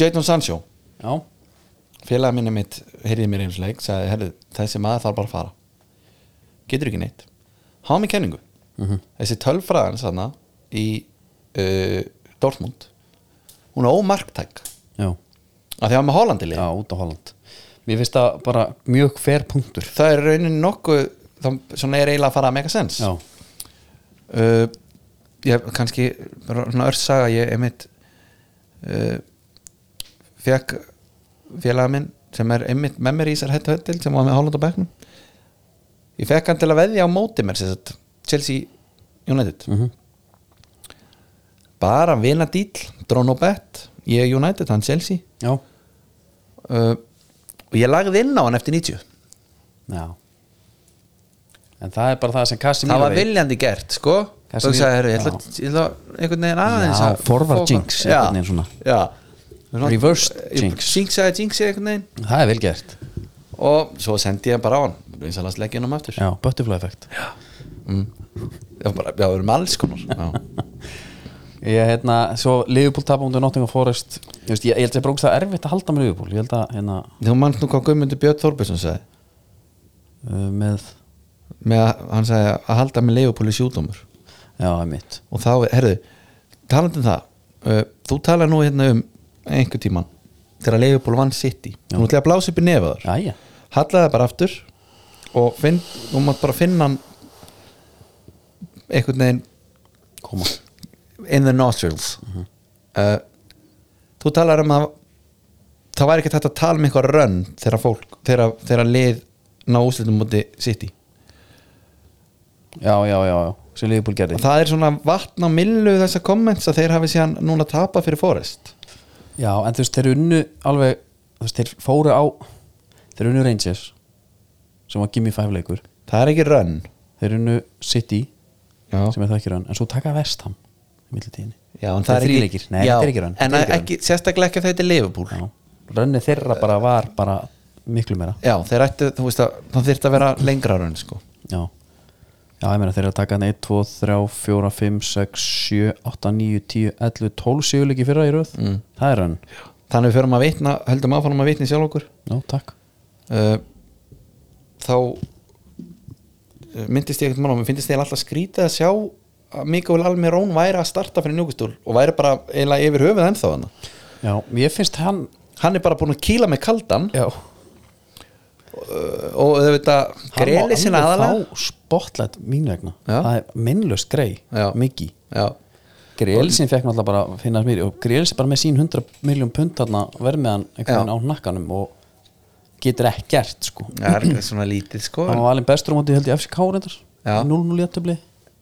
S3: Jadon Sancho
S2: já,
S3: félaga minni mitt heyrði mér eins og leik sagði, herðu, þessi maður þarf bara að fara getur ekki neitt hafa mig kenningu
S2: Mhm.
S3: þessi tölfræðan sanna í uh, Dortmund hún er ómarktæk
S2: já,
S3: af því að hann með Hollandili
S2: já, út á Holland mér finnst það bara mjög fer punktur
S3: það er raunin nokkuð þá, svona er eiginlega að fara að mega sens
S2: já,
S3: uh, ég kannski bara svona örsaga ég einmitt uh, fekk félaga minn sem er einmitt með mér í þessar hættu höndil sem var með Holland á bekknum ég fekk hann til að veðja á móti mér sem sagt, Chelsea United bara vina dýl drón og bett, ég er United, hann Chelsea
S2: já,
S3: uh, og ég lagði inn á hann eftir 90
S2: já en það er bara það sem Kassi
S3: það var viljandi gert sko
S2: Kannski
S3: þú sagði,
S2: við-
S3: herru, ég ætla
S2: já.
S3: ég ætla einhvern veginn aðeins
S2: Já,
S3: að
S2: forward
S3: fá-
S2: jinx,
S3: já,
S2: einhvern veginn svona.
S3: já Svona-
S2: Reverse
S3: Ég-
S2: jinx.
S3: jinxaði jinxi einhvern veginn
S2: það er vel gert
S3: og svo sendi ég hann bara á hann eins og last leggja hann um aftur
S2: já, butterfly effect
S3: já, bara, já, við erum alls konar já,
S2: ég hérna, svo Liverpool tapum undir Nottingham Forest ég, veist, ég, ég held að það er bara ógeðslega erfitt að halda með Liverpool ég held að hérna
S3: þú mannst nú hvað Guðmundur Björn Þorbjörnsson sagði
S2: uh, með,
S3: með að hann sagði að halda með leifupóli sjúdómur
S2: já, það er mitt
S3: og þá, herðu, talandi um það uh, þú tala nú hérna um einhver tíman þegar leifupóli vann sitt í nú ætla ég að blása upp í nefaður
S2: Jæja,
S3: hallaði bara aftur og finn, þú mátt bara finna hann einhvern veginn
S2: koma
S3: in the nostrils
S2: Mhm.
S3: uh, þú talar um að það væri ekki þetta að tala um eitthvað rönn þegar fólk, þegar, þegar lið ná úslitum múti sitt í
S2: Já, já, já, já, sem Liverpool gerði
S3: það er svona vatn á millu þessa komments að þeir hafi síðan núna tapað fyrir Forrest
S2: Já, en þú veist, þeir unnu alveg þú veist, þeir fóru á þeir unnu Rangers sem var Gimme 5 leikur
S3: það er ekki rönn
S2: þeir unnu City
S3: Já.
S2: sem er það ekki raun, en svo taka Vestham í millitíðinni
S3: Já, en
S2: það er
S3: ekki-
S2: þríleikir, nei,
S3: Já,
S2: þetta er ekki raun
S3: en ekki, sérstaklega ekki að þetta er Liverpool já,
S2: Rönni þeirra bara var bara miklu meira
S3: þeir ættu, þú veist að það þyrfti að vera lengra rönn sko.
S2: Já, já ég meina þeir eru að taka hann 1, 2, 3, 4, 5, 6, 7, 8, 9, 10, 11, 12 sjöleiki fyrra í röð mm. það er hann,
S3: þannig við förum að vitna, höldum áfram að vitna í sjálf okkur
S2: já takk
S3: uh, þá uh, myndist ég ekkert mann og mér finnst ég alltaf skrítið að sjá að Mikael Almirón væri að starta fyrir njúkustúl og væri bara eiginlega yfir höfuð ennþá hann
S2: Já, ég finnst hann
S3: hann er bara búin að kýla með kaldan
S2: Já,
S3: og auðvitað greli sinna aðalega
S2: þá spotlætt mín vegna
S3: Já.
S2: það er minnlust grei,
S3: Já.
S2: Miki
S3: já,
S2: Grelsin fekk náttúrulega bara að finna mér og Grelsin bara með sín 100 miljón pund þarna verð með hann einhvern
S3: Já.
S2: veginn á hnakkanum og getur ekkert sko
S3: það er ekki svona lítið sko
S2: hann var alveg bestur á móti held í FCK reyndar
S3: Já.
S2: 0-0 jættöfli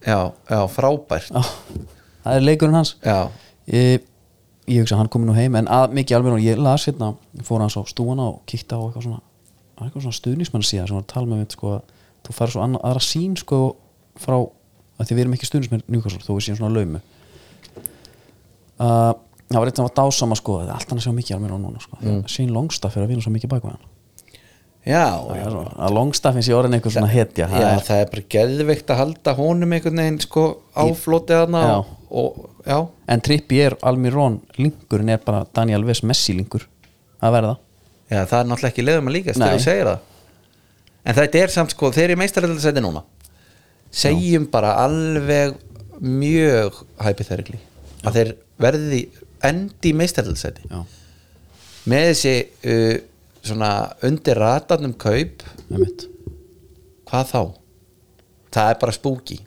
S3: já, já, frábært
S2: það er leikurinn hans
S3: já,
S2: ég, ég hugsa að hann komi nú heim en að mikið alveg og ég las hérna fór hans á stúana og kíkti á eitthvað svona á eitthvað svona stuðnismann síðan sem var að tala með mitt sko að þú fara svo anna, aðra sín sko frá að því við erum ekki stuðnismenn njúkastlega þó við séum svona laumu uh, það var eitt sem var dásama sko það er allt hann að sjá mikið alveg núna sko mm. sín longstaff er að vinna svo mikið bakvæðan
S3: já, já,
S2: Það er svona- að longstaffin sé orðin eitthvað svona hetja það
S3: já,
S2: er,
S3: það er bara geðveikt að halda honum einhvern veginn sko áflótið hana
S2: Já.
S3: og, og já,
S2: en Trippi er Almirón lingurinn er bara Daniel Vess Messi lingur að verða
S3: já, það er náttúrulega ekki leiðum að líkast
S2: Nei.
S3: þegar þú segir það en þetta er samt sko, þeir eru meistaröldarsæti núna segjum bara alveg mjög hypotherically að þeir verði endi meistaröldarsæti
S2: já,
S3: með þessi uh, svona undir ratarnum kaup
S2: einmitt
S3: hvað þá? það er bara spooky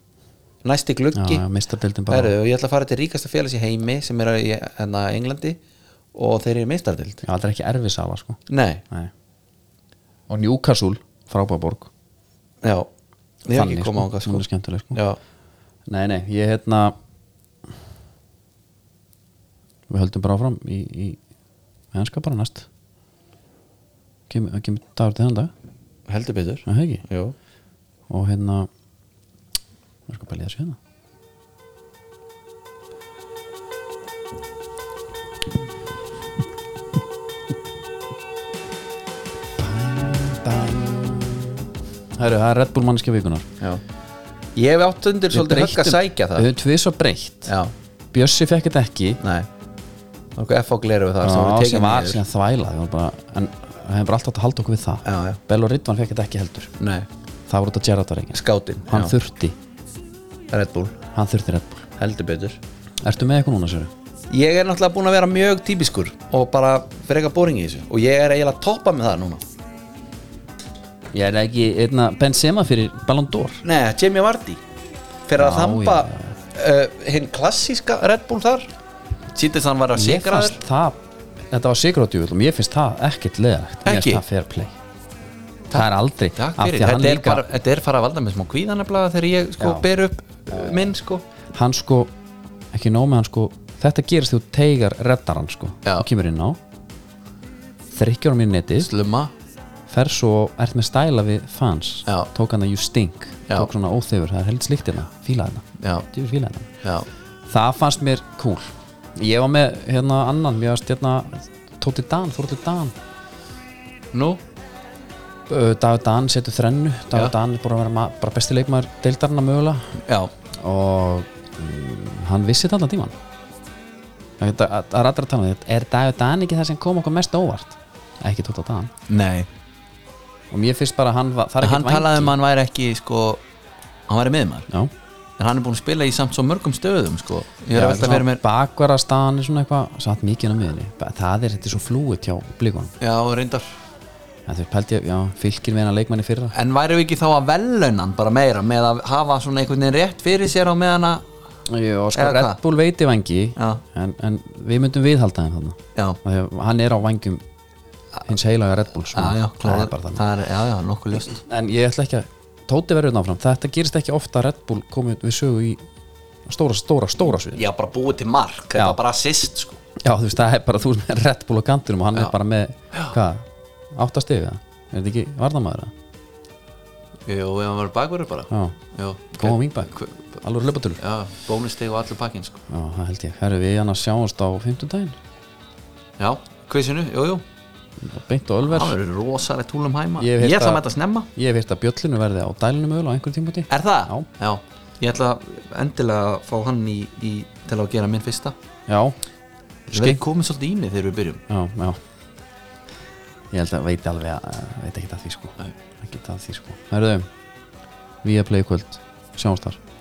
S3: næsti gluggi
S2: Já, já, meistaradeildin bara.
S3: Heru, ég ætla að fara til ríkasta félags í heimi sem er í hérna, Englandi og þeir eru meistardeld
S2: já, það er ekki erfið sala sko
S3: nei,
S2: Nei. og Newcastle frábæborg
S3: já ég hef
S2: Þannig,
S3: ekki
S2: sko.
S3: komað á hvað
S2: Hún
S3: sko
S2: er skemmtileg, sko.
S3: já,
S2: nei, nei, ég hérna við höldum bara áfram í, í mennska bara næst kemur, það kemur dagur til þennan dag
S3: heldur betur
S2: er það ekki
S3: Jú.
S2: og hérna maður sko bara líða sér hérna Herru, það er Red Bull mannskja vikunar
S3: já. ég hef átt undir svolítið högg að sækja
S2: Við
S3: það
S2: höfum tvið svo breytt
S3: já,
S2: Bjössi fekk þetta ekki
S3: nei nokkuð F á gleru við það sem voru
S2: Já,
S3: tekin
S2: sem var
S3: niður.
S2: síðan þvæla það var bara, En það hefur bara alltaf átt að halda okkur við það
S3: Já, já.
S2: Bell og Ridvan fekk þetta ekki heldur
S3: nei,
S2: Það voru þetta Gerard var ekki
S3: skátin
S2: Hann
S3: já,
S2: þurfti,
S3: Red Bull
S2: hann þurfti Red Bull
S3: heldur betur
S2: Ertu með eitthvað núna, Sjöru?
S3: ég er náttúrulega búin að vera mjög típiskur og bara freka boring í þessu og ég er eiginlega að toppa með það núna
S2: Ég er ekki einna Benzema fyrir Ballon d'Or
S3: Nei, Jamie Vardy fyrir að
S2: Já,
S3: þamba uh, hinn klassíska Red Bull þar síndist hann var að
S2: Ég
S3: sigra
S2: fannst
S3: þér
S2: það Þetta var sigurðjóðul og mér finnst það ekkert leðalegt Mér
S3: Ekki?
S2: finnst það fair play Það er aldrei
S3: Takk
S2: af því
S3: fyrir,
S2: að
S3: þetta
S2: hann
S3: er,
S2: líka
S3: bara, þetta er fara að valda með smá kvíðanablaða þegar ég sko
S2: Já.
S3: ber upp uh, minn sko
S2: Hann sko, ekki nóg með hann sko Þetta gerist þú teigar reddar hann sko
S3: Já.
S2: Þú kemur inn á Þrykkjur á mér netið
S3: slumma
S2: fer svo, ert með stæla við fans
S3: Já.
S2: tók hann að you stink
S3: Já.
S2: tók svona óþefur, það er held slíkt hérna fíla
S3: Já.
S2: hérna, djúfur fíla hérna
S3: Já,
S2: það fannst mér cool ég var með hérna annan, mér varst hérna Tóti Dan, Þórti Dan
S3: nú
S2: Ö, Dagur Dan setur þrennu Dagur
S3: Já.
S2: Dan er búin að vera ma- bara besti leikmaður deildarna mögulega
S3: Já,
S2: og mm, hann vissi þetta allan tíman það er- það er allra að tala um þetta er Dagur Dan ekki það sem kom okkur mest á óvart ekki Tóti Dan
S3: nei
S2: og mér finnst bara að hann, var- það er
S3: Hann
S2: ekkert
S3: talaði um
S2: vængi
S3: að hann væri ekki sko hann væri miðmar
S2: Já.
S3: en hann er búin að spila í samt svo mörgum stöðum sko Ég er
S2: Já,
S3: að velta fyrir mér
S2: bakvara staðan er svona eitthvað satt mikið inn á miðunni það er þetta er svo flúið hjá blíkunum
S3: Já, reyndar
S2: það er pælt ég, já, fylgir við hennar leikmanni fyrra
S3: En væri við ekki þá að vellunan bara meira með að hafa svona einhvern veginn rétt fyrir sér á meðan að
S2: Jú, og sko
S3: Eða
S2: Red
S3: hvað?
S2: Bull veiti vangi
S3: Já.
S2: en, en við myndum viðhalda hann
S3: Já,
S2: þannig hann er á vangum hins heilaga Red Bull svona.
S3: já, já,
S2: það
S3: klára
S2: er bara þannig
S3: það er, Já, já, nokkuð ljóst
S2: en ég ætla ekki að Tóti verður náfram, þetta gerist ekki ofta að Red Bull komið við sögu í stóra, stóra, stóra svið
S3: Já, bara búið til mark, þetta var bara assist sko.
S2: Já, þú veist, það er bara þú veist með Red Bull á kantinum og hann er bara með, hvað, áttastegi er þetta ekki varnamæður það?
S3: Jú, ef hann verið bakverður bara
S2: Já,
S3: Jú,
S2: góðan vingbæk
S3: Hver-
S2: alveg löpatölu
S3: Já, bónusteg og allur pakkin sko.
S2: Já, það held ég, herru við hann að sjáumst á 15 daginn,
S3: Já, kvissinu, jú, jú
S2: beint og ölver
S3: Það verður rosalegt húlum hæma
S2: Ég hef
S3: Ég,
S2: heyrt
S3: ætla að
S2: að-
S3: mæta snemma
S2: Ég hef hirt að bjöllinu verði á dælinu mögulega á einhverjum tímpúti
S3: Er það?
S2: Já.
S3: Ég ætla endilega að fá hann í, í til að gera minn fyrsta
S2: Já,
S3: Skei
S2: Skein-
S3: komið svolítið í mig þegar við byrjum
S2: já, já Ég held að veit alveg að, eh, veit ekki það því sko Ekki það því sko Herru, við erum play í kvöld, sjáumst þar